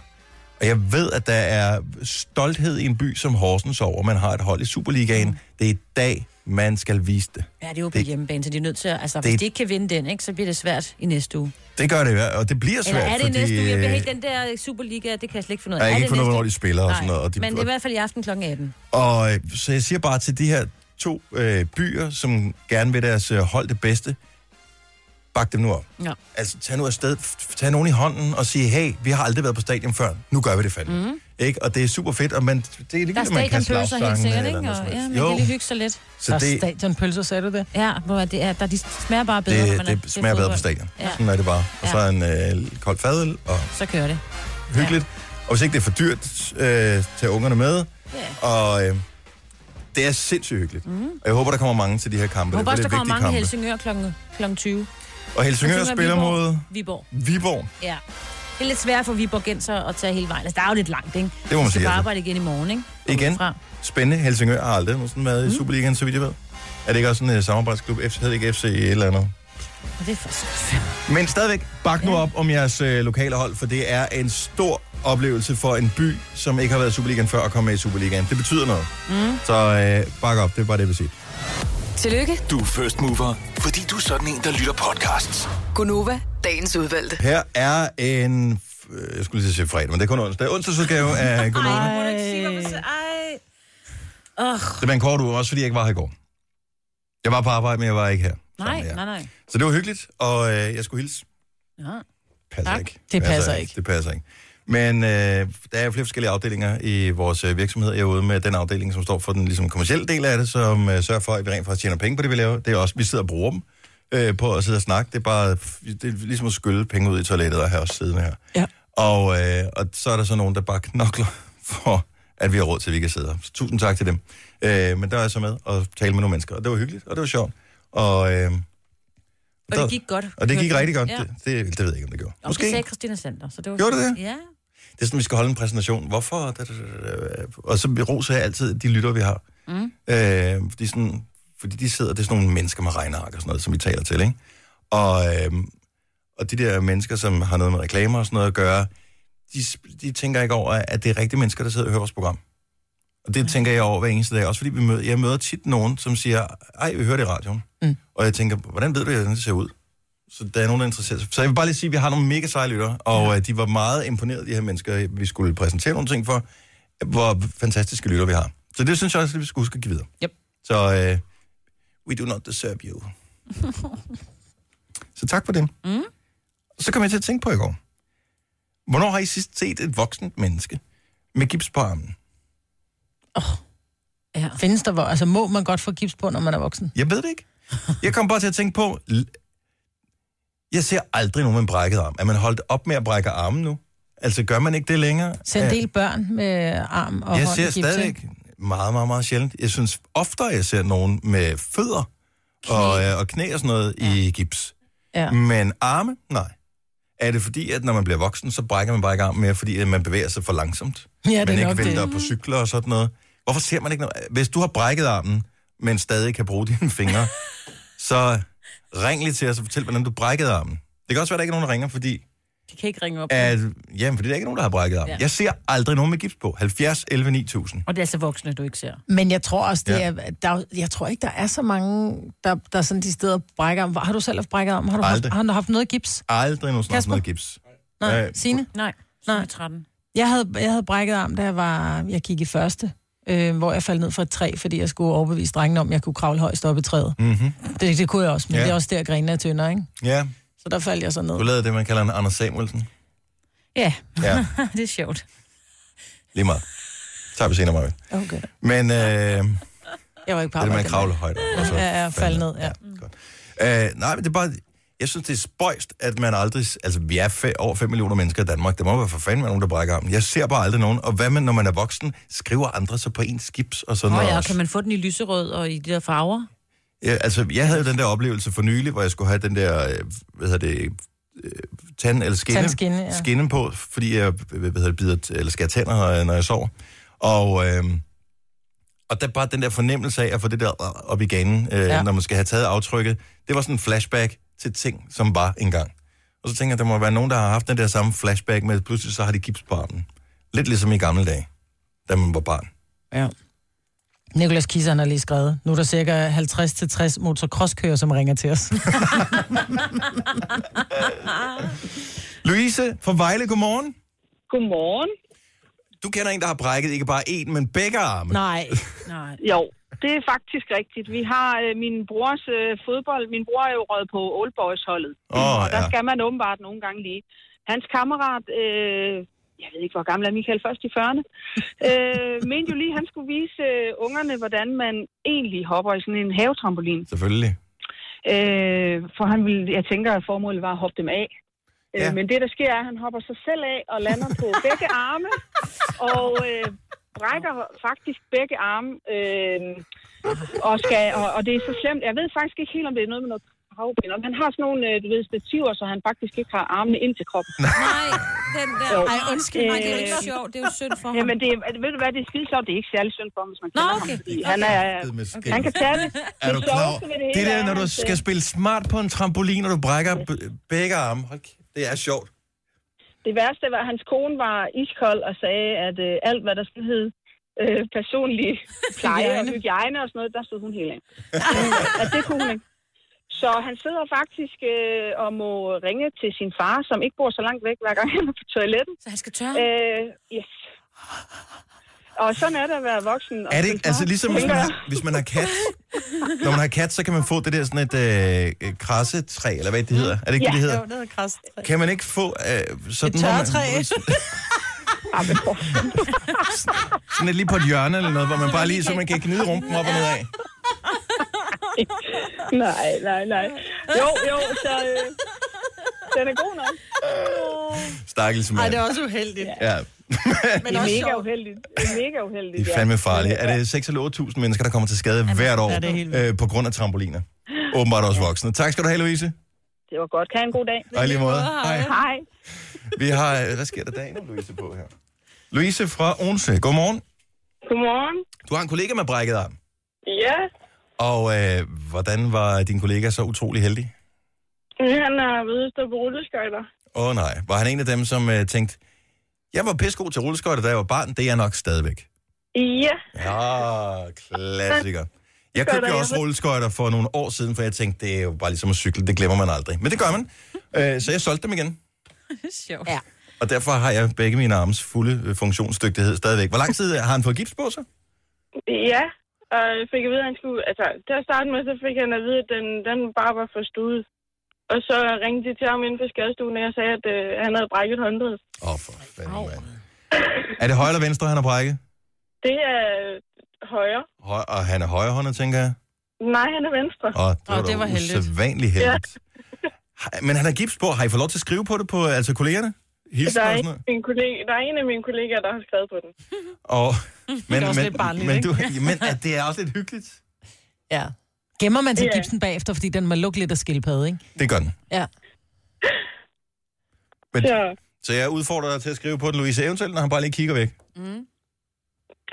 S1: Og jeg ved, at der er stolthed i en by som Horsens over, at man har et hold i
S3: Mm.
S1: Superligaen. Det er i dag, man skal vise det.
S3: Ja, det er jo på
S1: Det-
S3: hjemmebane, så de er nødt til at... Altså,
S1: Det-
S3: hvis de ikke kan vinde den, ikke, så bliver det svært i næste uge.
S1: Det gør det, i hvert- og det bliver svært,
S3: Eller er det
S1: fordi...
S3: i næste uge? Jeg bliver
S1: øh,
S3: helt den der Superliga, det kan jeg slet ikke finde ud af.
S1: jeg
S3: Er
S1: kan
S3: det
S1: ikke finde ud af,
S3: næste-
S1: hvornår de spiller og sådan noget. Og, de,
S3: Men det er i hvert fald i aften kl. 18.
S1: og øh, så jeg siger bare til de her to øh, byer, som gerne vil deres øh, hold det bedste, bak dem nu op.
S3: Ja.
S1: Altså, tag nu afsted, f- tag nogen i hånden og sige, hey, vi har aldrig været på stadion før, nu gør vi det fandme. Mm. Ikke? Og det er super fedt, og man, det er
S3: Der er
S1: ligegyldigt, om man kan
S3: stadionpølser helt
S1: slagsange
S3: sikkert,
S1: eller
S3: ikke?
S1: noget
S3: Og,
S1: som
S3: ja,
S1: helst.
S3: man
S1: Jo.
S3: kan lige hygge sig lidt.
S1: Så Der er det-
S4: stadionpølser, sagde du det?
S3: Ja, hvor er det er, der, de smager bare bedre, når man
S1: det,
S3: er
S1: det
S3: til
S1: smager bedre på
S3: fodbold.
S1: stadion. Ja.
S3: Ja,
S1: Sådan er det bare. Og
S3: Ja.
S1: så en øh, kold fadøl, og
S3: så kører det.
S1: hyggeligt. Og hvis ikke det er for dyrt, øh, tag ungerne med.
S3: Ja.
S1: Og øh, det er sindssygt hyggeligt. Mm. Og jeg håber, der kommer mange til de her kampe.
S3: Jeg håber
S1: det
S3: også,
S1: er
S3: der kommer
S1: vigtige
S3: mange
S1: kampe.
S3: Helsingør kl. kl. 20.
S1: Og Helsingør
S3: Helsingør,
S1: spiller
S3: Viborg.
S1: mod
S3: Viborg.
S1: Viborg.
S3: Ja. Det er lidt svært for Viborgenser at tage hele vejen. Altså, der er jo lidt langt, ikke?
S1: Det må man
S3: Vi skal
S1: sige,
S3: bare
S1: altså.
S3: arbejde igen i morgen, ikke?
S1: Igen. Spændende. Helsingør har aldrig nogensinde været mm. i Superligaen, så vidt jeg ved. Er det ikke også en uh, samarbejdsklub? FC hedder ikke FC et eller andet.
S3: Og det er for skidt.
S1: Men stadigvæk, bak nu op om jeres øh, lokale hold, for det er en stor oplevelse for en by, som ikke har været i Superligaen før, at komme med i Superligaen. Det betyder noget. Mm. Så øh, bak op, det er bare det, jeg vil sige.
S2: Tillykke,
S6: Du er first mover, fordi du er sådan en, der lytter podcasts.
S2: Gunova, dagens udvalgte.
S1: Her er en... øh, Jeg skulle lige til at sige fredag, men det er kun onsdag. Onsdagsudgave af Godmorgen.
S3: Ej, må du ikke sige, hvorfor så... Ej. Oh,
S1: Det var en kort uge, også fordi jeg ikke var her i går. Jeg var på arbejde, men jeg var ikke her.
S3: nej, nej, nej.
S1: Så det var hyggeligt, og øh, jeg skulle hilse.
S3: Ja.
S1: Passer
S3: Tak.
S1: ikke.
S4: Det passer ikke.
S1: Det passer ikke. Men øh, der er jo flere forskellige afdelinger i vores øh, virksomhed. Jeg er ude med den afdeling, som står for den ligesom, kommercielle del af det, som øh, sørger for, at vi rent faktisk tjener penge på det, vi laver. Det er også, vi sidder og bruger dem øh, på at sidde og snakke. Det er bare det er ligesom at skylle penge ud i toilettet og have os siddende her.
S4: Ja.
S1: Og, øh, og så er der så nogen, der bare knokler for, at vi har råd til, at vi kan sidde her. Så tusind tak til dem. Øh, men der er jeg så med at tale med nogle mennesker, og det var hyggeligt, og det var sjovt. Og, øh,
S3: Og det gik godt.
S1: og det gik rigtig godt.
S3: Ja.
S1: Ja. Det, det, det ved jeg ikke, om det gjorde.
S3: Og Måske. det sagde Christina Sander, så det var...
S1: Gjorde det det?
S3: Ja.
S1: Det er sådan, vi skal holde en præsentation. Hvorfor? Da, da, da, da, da. Og så roser jeg altid de lytter, vi har.
S3: Mm.
S1: Øh, fordi, sådan, fordi de sidder, det er sådan nogle mennesker med regneark og sådan noget, som vi taler til, ikke? Og, øh, og de der mennesker, som har noget med reklamer og sådan noget at gøre, de, sp- de tænker ikke over, at det er rigtige mennesker, der sidder og hører vores program. Og det tænker jeg over hver eneste dag. Også fordi vi møder, jeg møder tit nogen, som siger, ej, vi hører det i radioen. Mm. Og jeg tænker, hvordan ved du, hvordan det ser ud? Så der er nogen, der interesserer sig. Så jeg vil bare lige sige, at vi har nogle mega seje lytter, og ja. de var meget imponerede, de her mennesker, vi skulle præsentere nogle ting for, hvor fantastiske lytter vi har. Så det synes jeg også, at vi skal huske at give videre.
S4: Yep.
S1: Så øh, we do not deserve you. Så tak for det.
S3: Mm.
S1: Så kom jeg til at tænke på i går. Hvornår har I sidst set et voksent menneske med gips på armen?
S4: Findes der, hvor- altså må man godt få gips på, når man er voksen?
S1: Jeg ved det ikke. Jeg kom bare til at tænke på, l- jeg ser aldrig nogen med en brækket arm. Er man holdt op med at brække armen nu? Altså, gør man ikke det længere?
S4: Så en
S1: Øh,
S4: del børn med arm og
S1: jeg
S4: hånd i
S1: ser
S4: gips, ikke?
S1: stadigvæk meget, meget, meget sjældent. Jeg synes oftere, jeg ser nogen med fødder og, øh, og knæ og sådan noget ja. i gips.
S4: Ja.
S1: Men arme? Nej. Er det fordi, at når man bliver voksen, så brækker man bare ikke armen mere, fordi at man bevæger sig for langsomt?
S4: Ja, det er
S1: man ikke
S4: nok det.
S1: vælter på cykler og sådan noget. Hvorfor ser man ikke noget? Hvis du har brækket armen, men stadig kan bruge dine fingre, så ring lige til os og fortæl, hvordan du brækkede armen. Det kan også være, at der ikke er nogen, der ringer, fordi
S3: De kan ikke ringe op.
S1: at, jamen, fordi der er ikke nogen, der har brækket armen.
S3: Ja.
S1: Ja. Jeg ser aldrig nogen med gips på. 70, 11, 9000.
S3: Og det er altså voksne, du ikke ser.
S4: Men jeg tror også, det
S1: Ja.
S4: ja. er, der, er jo- jeg tror ikke, der er så mange, der, der sådan de steder brækker om. Har du selv haft brækket om? Har du haft,
S1: Aldrig.
S4: har du haft noget gips?
S1: Aldrig nogen snart
S4: Kasper?
S1: noget gips.
S4: Nej,
S1: Øh,
S4: Signe?
S3: Nej, Nej. 13.
S4: Jeg havde, jeg havde brækket arm, da jeg, var, jeg gik i første, øh, hvor jeg faldt ned fra et træ, fordi jeg skulle overbevise drengene om, at jeg kunne kravle højst op i træet.
S1: Mhm.
S4: Det, det kunne jeg også, men
S1: Ja.
S4: ja. det er også der, grenene er tyndere, ikke?
S1: Ja,
S4: Så der faldt jeg så ned.
S1: du lavede det, man kalder en Anders Samuelsen.
S3: Ja.
S1: Ja.
S3: det er sjovt.
S1: Lige meget. Tager vi senere, Maja.
S4: Okay.
S1: Men øh, det
S4: Jeg var ikke på
S1: er det, man
S4: arbejde.
S1: kravler højt. over, Og så,
S4: Ja, ja, falde ned, ja.
S1: øh, nej, men det er bare... Jeg synes, det er spøjst, at man aldrig... Altså, vi er fe, over 5 millioner mennesker i Danmark. Der må være for fanden være nogen, der brækker armen. Jeg ser bare aldrig nogen. Og hvad man, når man er voksen, skriver andre så på ens skips og sådan
S3: Nå
S1: noget
S3: ja,
S1: også.
S3: kan man få den i lyserød og i de der farver?
S1: Ja, altså, jeg havde jo den der oplevelse for nylig, hvor jeg skulle have den der, øh, hvad hedder det, øh, tand eller skinne,
S4: Tandskinne, ja.
S1: skinne på, fordi jeg øh, hvad hedder det, bider, t- eller skærer tænder, øh, når jeg sover. Og, øh, og der bare den der fornemmelse af at få det der op i ganen, øh, ja.
S4: Ja.
S1: når man skal have taget aftrykket, det var sådan en flashback til ting, som var engang. Og så tænker jeg, der må være nogen, der har haft den der samme flashback, men pludselig så har de gips på armen. Lidt ligesom i gamle dage, da man var barn.
S4: Ja. Nikolas Kisseren har lige skrevet, nu er der cirka 50-60 motocrosskører, som ringer til os.
S1: Louise fra Vejle, godmorgen.
S16: Godmorgen.
S1: Du kender en, der har brækket ikke bare én, men begge arme.
S4: Nej.
S3: Nej.
S16: Jo, det er faktisk rigtigt. Vi har øh, min brors øh, fodbold. Min bror er jo røget på Old Boys-holdet.
S1: Åh,
S16: og der
S1: ja.
S16: skal man åbenbart nogle gange lige. Hans kammerat, øh, jeg ved ikke, hvor gammel er Michael, først i 40'erne, øh, mente jo lige, at han skulle vise øh, ungerne, hvordan man egentlig hopper i sådan en havetrampolin.
S1: Selvfølgelig.
S16: Øh, for han ville, jeg tænker, at formålet var at hoppe dem af. Ja.
S1: Ja.
S16: Øh, men det, der sker, er, at han hopper sig selv af og lander på begge arme, og øh, brækker faktisk begge arme. Øh, og, skal, og, og det er så slemt. Jeg ved faktisk ikke helt, om det er noget med noget kravben. Om han har sådan nogle, øh, du ved, stativer, så han faktisk ikke har armene ind til kroppen.
S3: Nej, den der.
S16: Jo.
S3: Ej, undskyld mig, det er jo ikke
S16: Øh,
S3: sjovt. Det er jo synd for ham.
S16: Jamen, det er, ved du hvad, det er skide sjovt. Det er ikke særlig synd for ham, hvis man
S3: Nå,
S16: kender
S3: okay.
S16: ham. Fordi han, er,
S1: Okay.
S16: han kan tage det.
S1: Er
S16: Det
S1: du klar? over-
S16: sjoveste ved hele
S1: Det der,
S16: er,
S1: når du
S16: at, øh,
S1: skal spille smart på en trampolin, og du brækker b- begge arme. Hold kæft, det er sjovt.
S16: Det værste var, at hans kone var iskold og sagde, at øh, alt, hvad der skulle hedde øh, personlig pleje og hygiejne og sådan noget, der stod hun helt af. Øh, og det kunne hun ikke. Så han sidder faktisk øh, og må ringe til sin far, som ikke bor så langt væk, hver gang han er på toilettet.
S3: Så han skal tørre?
S16: Øh, yes. Og sådan er det at være voksen. og
S1: Er det
S16: spille
S1: ikke, altså
S16: smart,
S1: ligesom hvis man,
S16: tænker
S1: har, hvis man har kat, når man har kat, så kan man få det der sådan et øh, øh, krassetræ, eller hvad det hedder. Er det ikke
S16: Mm. Ja,
S1: det, det hedder?
S16: jo, det hedder krassetræ.
S1: Kan man ikke få øh, sådan,
S16: Et
S1: hvor man-
S16: tørretræ.
S1: sådan et lige på et hjørne eller noget, hvor man bare lige, så man kan gnide rumpen op og ned af?
S16: nej, nej, nej. Jo, jo, så øh, den er god nok.
S1: Stakkels mand.
S16: Ej, det er også uheldigt.
S1: Ja,
S16: Men det er mega uheldigt. Det er mega uheldigt,
S1: det er fandme farligt. Er det 6 eller 8.000 mennesker, der kommer til skade hvert år
S16: er det helt
S1: øh, på grund af trampoliner? Åbenbart også voksne. Tak skal du have, Louise.
S16: Det var godt. Kan I en god dag.
S1: Og i lige måde. Hej.
S16: Hej.
S1: Vi har, øh, hvad sker der dagen om Louise på her? Louise fra Odense, godmorgen.
S17: Godmorgen.
S1: Du har en kollega med brækket arm,
S17: Ja,
S1: og øh, hvordan var din kollega så utrolig heldig?
S17: han er ved at stå på rulleskøjter.
S1: Åh oh, nej, var han en af dem, som øh, tænkte, jeg var pissegod til rulleskøjter, da jeg var barn, det er jeg nok stadigvæk.
S17: Ja,
S1: Ja, klassiker. Jeg købte jo også rulleskøjter for nogle år siden, for jeg tænkte, det er jo bare ligesom at cykle, det glemmer man aldrig. Men det gør man. Øh, så jeg solgte dem igen,
S3: det er sjovt. Ja.
S1: og derfor har jeg begge mine armes fulde øh, funktionsdygtighed stadigvæk. Hvor lang tid øh, har han fået gips på sig?
S17: ja. Og jeg fik at vide, at han skulle... Altså, til at starte med, så fik han at vide, at den, den bare var for studet. Og så ringede de til ham inden for skadestuen, og jeg sagde, at øh, han havde brækket håndledet.
S1: Åh, oh, for fanden, mand. Er det højre eller venstre, han har brækket?
S17: Det er højere.
S1: Høj, og han er højrehåndet, tænker jeg.
S17: Nej, han er venstre.
S1: Åh, det var, da usædvanligt heldigt.
S17: Ja,
S1: Ja. Men han har gips på. Har I fået lov til at skrive på det på altså kollegerne? Hilsen
S17: der,
S1: og
S17: er
S1: sådan
S17: en,
S1: noget?
S17: min kollega, der er en af mine kollegaer, der har skrevet på den.
S1: Og,
S17: Det er også lidt barnligt,
S1: men,
S17: ikke?
S1: du, men at det er også lidt hyggeligt.
S4: Ja. Gemmer man til
S17: Ja.
S4: gipsen bagefter, fordi den må lukke lidt af skildpadde, ikke?
S1: Det gør den.
S4: Ja.
S1: Men, Så jeg udfordrer dig til at skrive på den, Louise, eventuelt, når han bare lige kigger væk.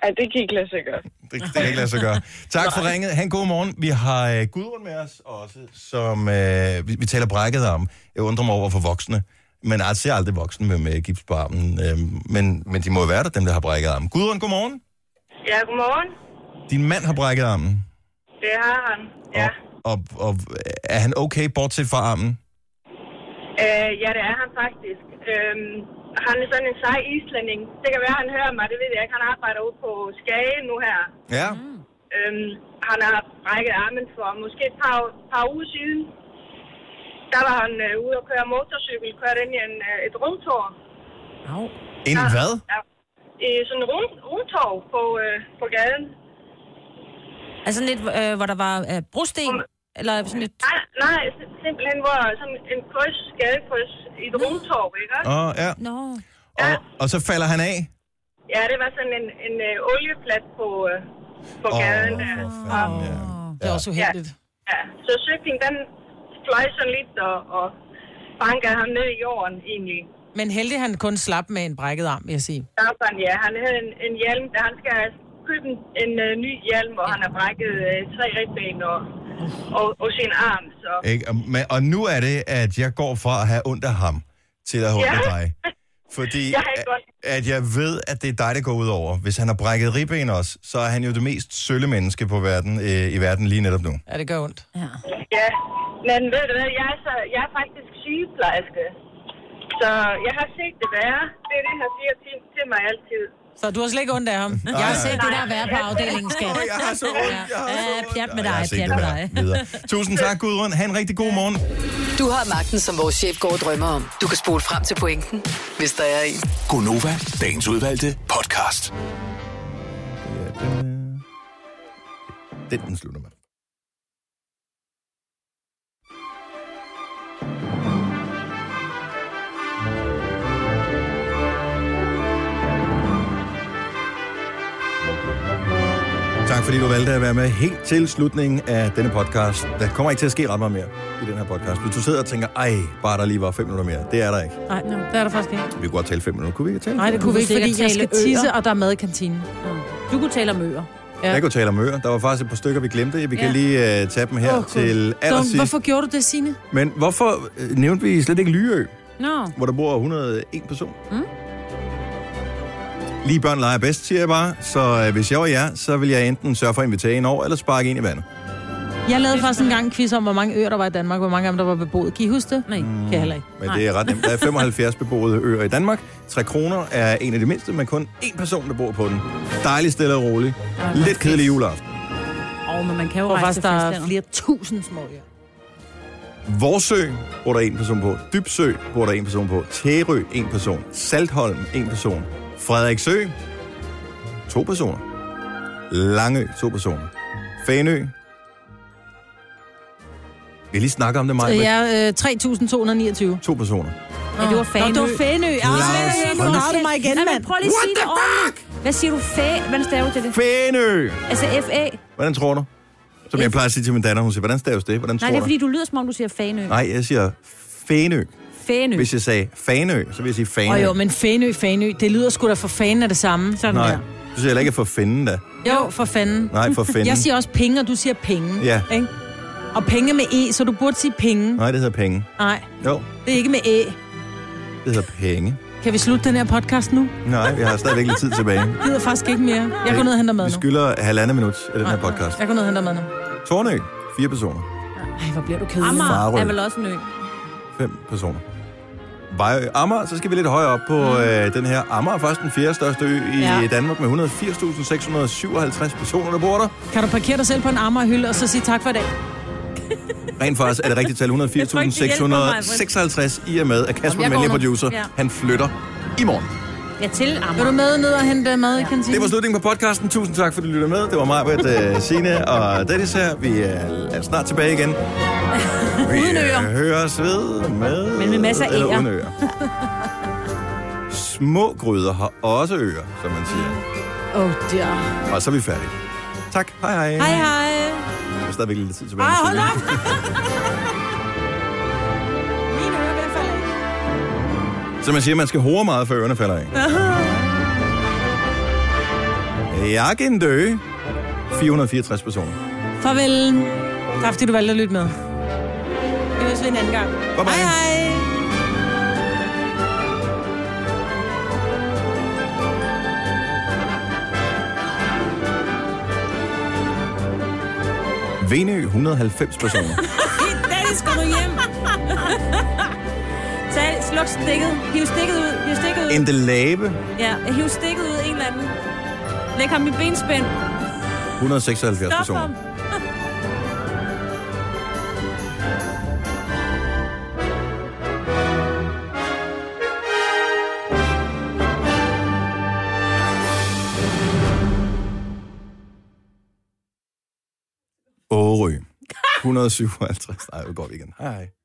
S17: Ej, det kan ikke lade sig gøre.
S1: Det, det kan ikke lade sig gøre. Tak for ringet. Han god morgen. Vi har øh, Gudrun med os også, som øh, vi, vi taler brækket om. Jeg undrer mig over for voksne. Men jeg ser aldrig voksne med, med gips på armen. Øh, men, men de må jo være der, dem der har brækket armen. Gudrun, godmorgen.
S12: Ja, godmorgen.
S1: Din mand har brækket armen.
S12: Det har han.
S1: Og, og er han okay, bortset fra armen?
S12: Øh, ja, det er han faktisk. Øhm, han er sådan en sej islænding. Det kan være, han hører mig, det ved jeg ikke. Han arbejder ude på Skage nu her.
S1: Ja.
S12: Øhm, han har brækket armen for måske et par, par uger siden. Der var han øh, ude og køre motorcykel, kørte ind i en, øh, et rundtår.
S3: Au.
S1: En hvad?
S12: Ja. I sådan en rund, rundtår på, øh, på gaden.
S3: Altså sådan lidt, øh, hvor der var øh, brosten, eller sådan lidt...
S12: Nej, nej sim- simpelthen hvor sådan en kryds, gadekryds i et rundtår, ikke? også?
S1: Åh, ja.
S3: Nå.
S1: Og, og så falder han af?
S12: Ja, det var sådan en, en øh, olieplat på, øh, på
S1: Åh,
S12: gaden der. Og,
S4: Det er også uheldigt.
S12: ja, så cyklen, den fløj sådan lidt og, og bankede ham ned i jorden egentlig.
S4: Men heldig, han kun slap med en brækket arm, vil jeg sige.
S12: Der var sådan, ja, han havde en, en hjelm, der han skal købe en, en øh, ny hjelm, og han har brækket øh, tre ribben og, og, og sin arm. Så.
S1: Ikke? Og, men, og nu er det, at jeg går fra at have ondt af ham, til at have ondt af
S12: Ja.
S1: dig. Fordi
S12: Jeg kan godt-
S1: at, at jeg ved, at det er dig, der går ud over. Hvis han har brækket ribben også, så er han jo det mest sølle menneske på verden, øh, i verden lige netop nu.
S4: Ja, det gør ondt.
S3: Ja.
S12: Ja, men ved du hvad, jeg er, så, jeg er faktisk sygeplejerske. Så jeg har set det være. Det er det, han siger til, til mig altid.
S4: Så du har slet ikke ondt af ham. Jeg har
S1: nej.
S4: set det der være på afdelingen, skat.
S1: Åh, jeg har så ondt, jeg har så
S4: Ja, pjat med
S1: Jeg har
S4: dig,
S1: set
S4: pjat
S1: det
S4: med
S1: være
S4: dig.
S1: videre. Tusind tak, Gudrun. Ha' en rigtig god morgen.
S2: Du har magten, som vores chef går og drømmer om. Du kan spole frem til pointen, hvis der er en.
S6: Gonova, dagens udvalgte podcast.
S1: Den, den slutter med. Tak fordi du valgte at være med helt til slutningen af denne podcast. Der kommer ikke til at ske ret meget mere i den her podcast. Hvis du sidder og tænker, ej, bare der lige var fem minutter mere. Det er der ikke.
S4: Nej, no, det er der faktisk ikke.
S1: Vi kunne godt tale fem minutter. Kunne vi ikke tale
S4: Nej,
S1: fem
S4: det kunne vi ikke,
S3: sikkert
S4: fordi jeg
S3: tale
S4: skal tisse,
S3: øer.
S4: og der er mad i kantinen.
S3: Du kunne tale om øer.
S1: Ja. Jeg kunne tale om øer. Der var faktisk et par stykker, vi glemte. Vi kan
S4: Ja.
S1: lige uh, tage dem her oh, til allersidst.
S4: Dum, hvorfor gjorde du det, Signe?
S1: Men hvorfor øh, nævnte vi slet ikke Lyø,
S3: Nå.
S1: hvor der bor 101 person?
S3: Mm.
S1: Lige børn leger bedst, siger jeg bare. Så øh, hvis jeg var jer, så ville jeg enten sørge for at invitere en over, eller sparke en i vandet.
S4: Jeg lavede faktisk en gang en quiz om, hvor mange øer der var i Danmark, hvor mange af dem der var beboet. Kan I huske det? Nej, kan jeg heller ikke.
S1: Mm, Men det er ret nemt. Der er 75 beboede øer i Danmark. 3 kroner er en af de mindste, men kun én person, der bor på den. Dejligt stille og roligt. Lidt kedelig juleaften.
S3: Og, men man kan jo
S4: Hvor
S3: rejse
S4: faktisk
S3: til
S4: der er
S3: fastlandet.
S4: flere tusind små øer.
S1: Vorsø bor der en person på. Dybsø bor der en person på. Tærø en person. Saltholm en person. Frederiksø to personer. Langø to personer. Fanø vi har lige snakket om det,
S4: Øh,
S1: meget
S4: Jeg er øh, 3.229.
S1: To personer.
S3: Ja, det var Fanø.
S4: Nå, det var Fanø. Ah, Ja,
S1: Claus,
S4: nu
S1: hold
S4: lavede du mig igen,
S3: Nej, men
S4: mand.
S3: prøv lige at sige det ordentligt. Hvad siger du? Fæ? Hvordan staver du det?
S1: Fanø!
S3: Altså F-A?
S1: Hvordan tror du? Som jeg plejer at sige til min datter, hun siger, hvordan staves det? Hvordan tror
S3: Nej, det er
S1: du?
S3: fordi, du lyder som om, du siger Fanø.
S1: Nej, jeg siger Fanø.
S3: Fanø.
S1: Hvis jeg sagde Fanø, så vil jeg sige Fanø.
S4: Åh jo, men Fanø, Fanø, det lyder sgu da for fanden af det samme. Sådan
S1: Nej, du siger heller ikke for fanden da.
S4: Jo, for fanden.
S1: Nej, for fanden.
S4: Jeg siger også penge, og du siger penge.
S1: Ja.
S4: Ikke? Og penge med E, så du burde sige penge.
S1: Nej, det hedder penge.
S4: Nej,
S1: Jo,
S4: det er ikke med E.
S1: det hedder penge.
S4: Kan vi slutte den her podcast nu?
S1: Nej, vi har stadigvæk lidt tid tilbage.
S4: Jeg gider faktisk ikke mere. Jeg går ned og henter mad
S1: Vi
S4: nu.
S1: skylder halvandet minut af den her podcast.
S4: Jeg går ned og henter mad nu.
S1: Tornø, fire personer.
S4: Ej, hvor bliver du kedelig.
S1: Farø.
S3: Amager er vel også en ø.
S1: Fem personer. Vejø, Amager, så skal vi lidt højere op på øh, den her Amager, er faktisk den fjerde største ø i
S4: Mm. Ja.
S1: ja. Danmark med 180.657 personer, der bor der.
S4: Kan du parkere dig selv på en Amagerhylde, og så sige tak for i dag?
S1: Rent faktisk er det rigtige tal
S4: hjælper mig, Britt.
S1: 180.656 i og med, at Kasper
S4: Jamen, jeg går
S1: Mælge
S4: nu.
S1: producer,
S4: Ja.
S1: han flytter i morgen.
S3: Ja, til Amager.
S4: Vil du med ned og hente mad i kantinen?
S1: Det var slutningen på podcasten. Tusind tak, fordi du lytter med. Det var mig, Britt, øh, Signe og Dennis her. Vi er, er snart tilbage igen. Vi
S3: Uden ører.
S1: høres ved med...
S3: Men med masser af
S1: eller
S3: ærer.
S1: uden ører. Små gryder har også ører, som man siger.
S3: Åh, oh, der.
S1: Og så er vi færdige. Tak. Hej hej.
S3: Hej, hej.
S1: Der er stadigvæk lidt tid tilbage.
S3: Ah, hold op. Ah.
S1: Så man siger, man skal hore meget, før ørerne falder af. Jeg kan dø. 464 personer.
S4: Farvel. Tak fordi du valgte at lytte med. Vi ses ved en anden gang.
S1: Bye bye.
S4: Hej hej.
S1: Venø, 190 personer.
S3: Dennis, skal du hjem? Tag, sluk stikket. Hiv stikket ud. Hiv stikket ud.
S1: Endelabe,
S3: Ja, hiv stikket ud en eller anden. Læg ham i benspænd.
S1: 176
S3: Stop
S1: personer.
S3: ham.
S1: Årø, 157. Nej, hvor går vi igen. Hej.